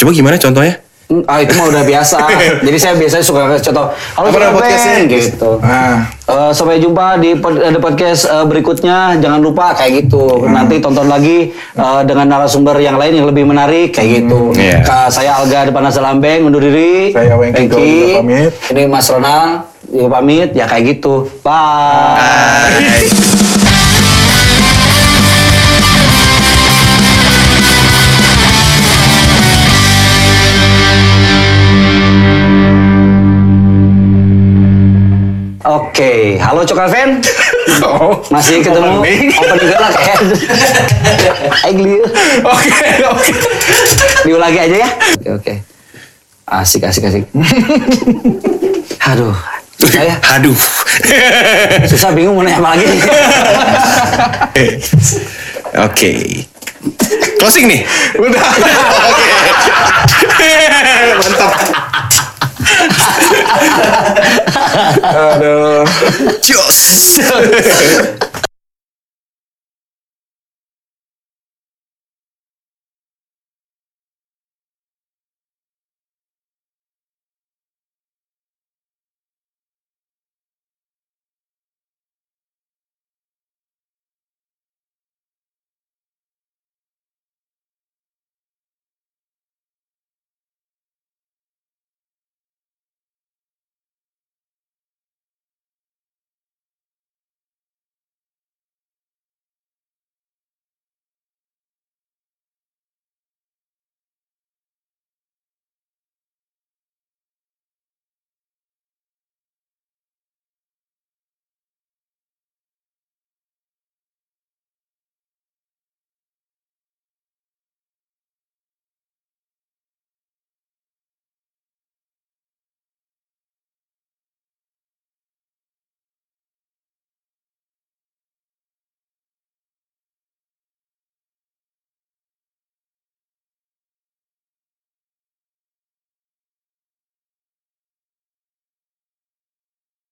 C: Coba gimana contohnya?
B: Hmm, Ah itu mah udah biasa. Jadi saya biasanya suka kasih contoh. Halo
C: Apa nama
B: Sobat
C: podcastnya?
B: Ben, gitu.
A: Nah,
B: Eh, sampai jumpa di pod- eh, di podcast eh, berikutnya. Jangan lupa kayak gitu. Nanti tonton lagi eh, dengan narasumber yang lain yang lebih menarik kayak gitu.
C: Iya.
B: Ka- saya Alga Depan Lambeng undur diri.
A: Saya Wengki
B: Wengki.
A: Gol juga pamit.
B: Ini Mas Ronald juga pamit. Ya kayak gitu. Bye.
C: Bye.
B: Oke, halo Cokal Fan.
A: Oh.
B: Masih ketemu
A: Opening.
B: open galak ya. Aing liu.
A: oke, oke.
B: Diulangi aja ya. Oke, oke. Asik, asik, asik. Aduh, susah ya.
C: Aduh.
B: Susah bingung mau nanya apa lagi.
C: Oke. Closing nih.
A: Udah.
C: Mantap.
A: Aduh.
C: Jos.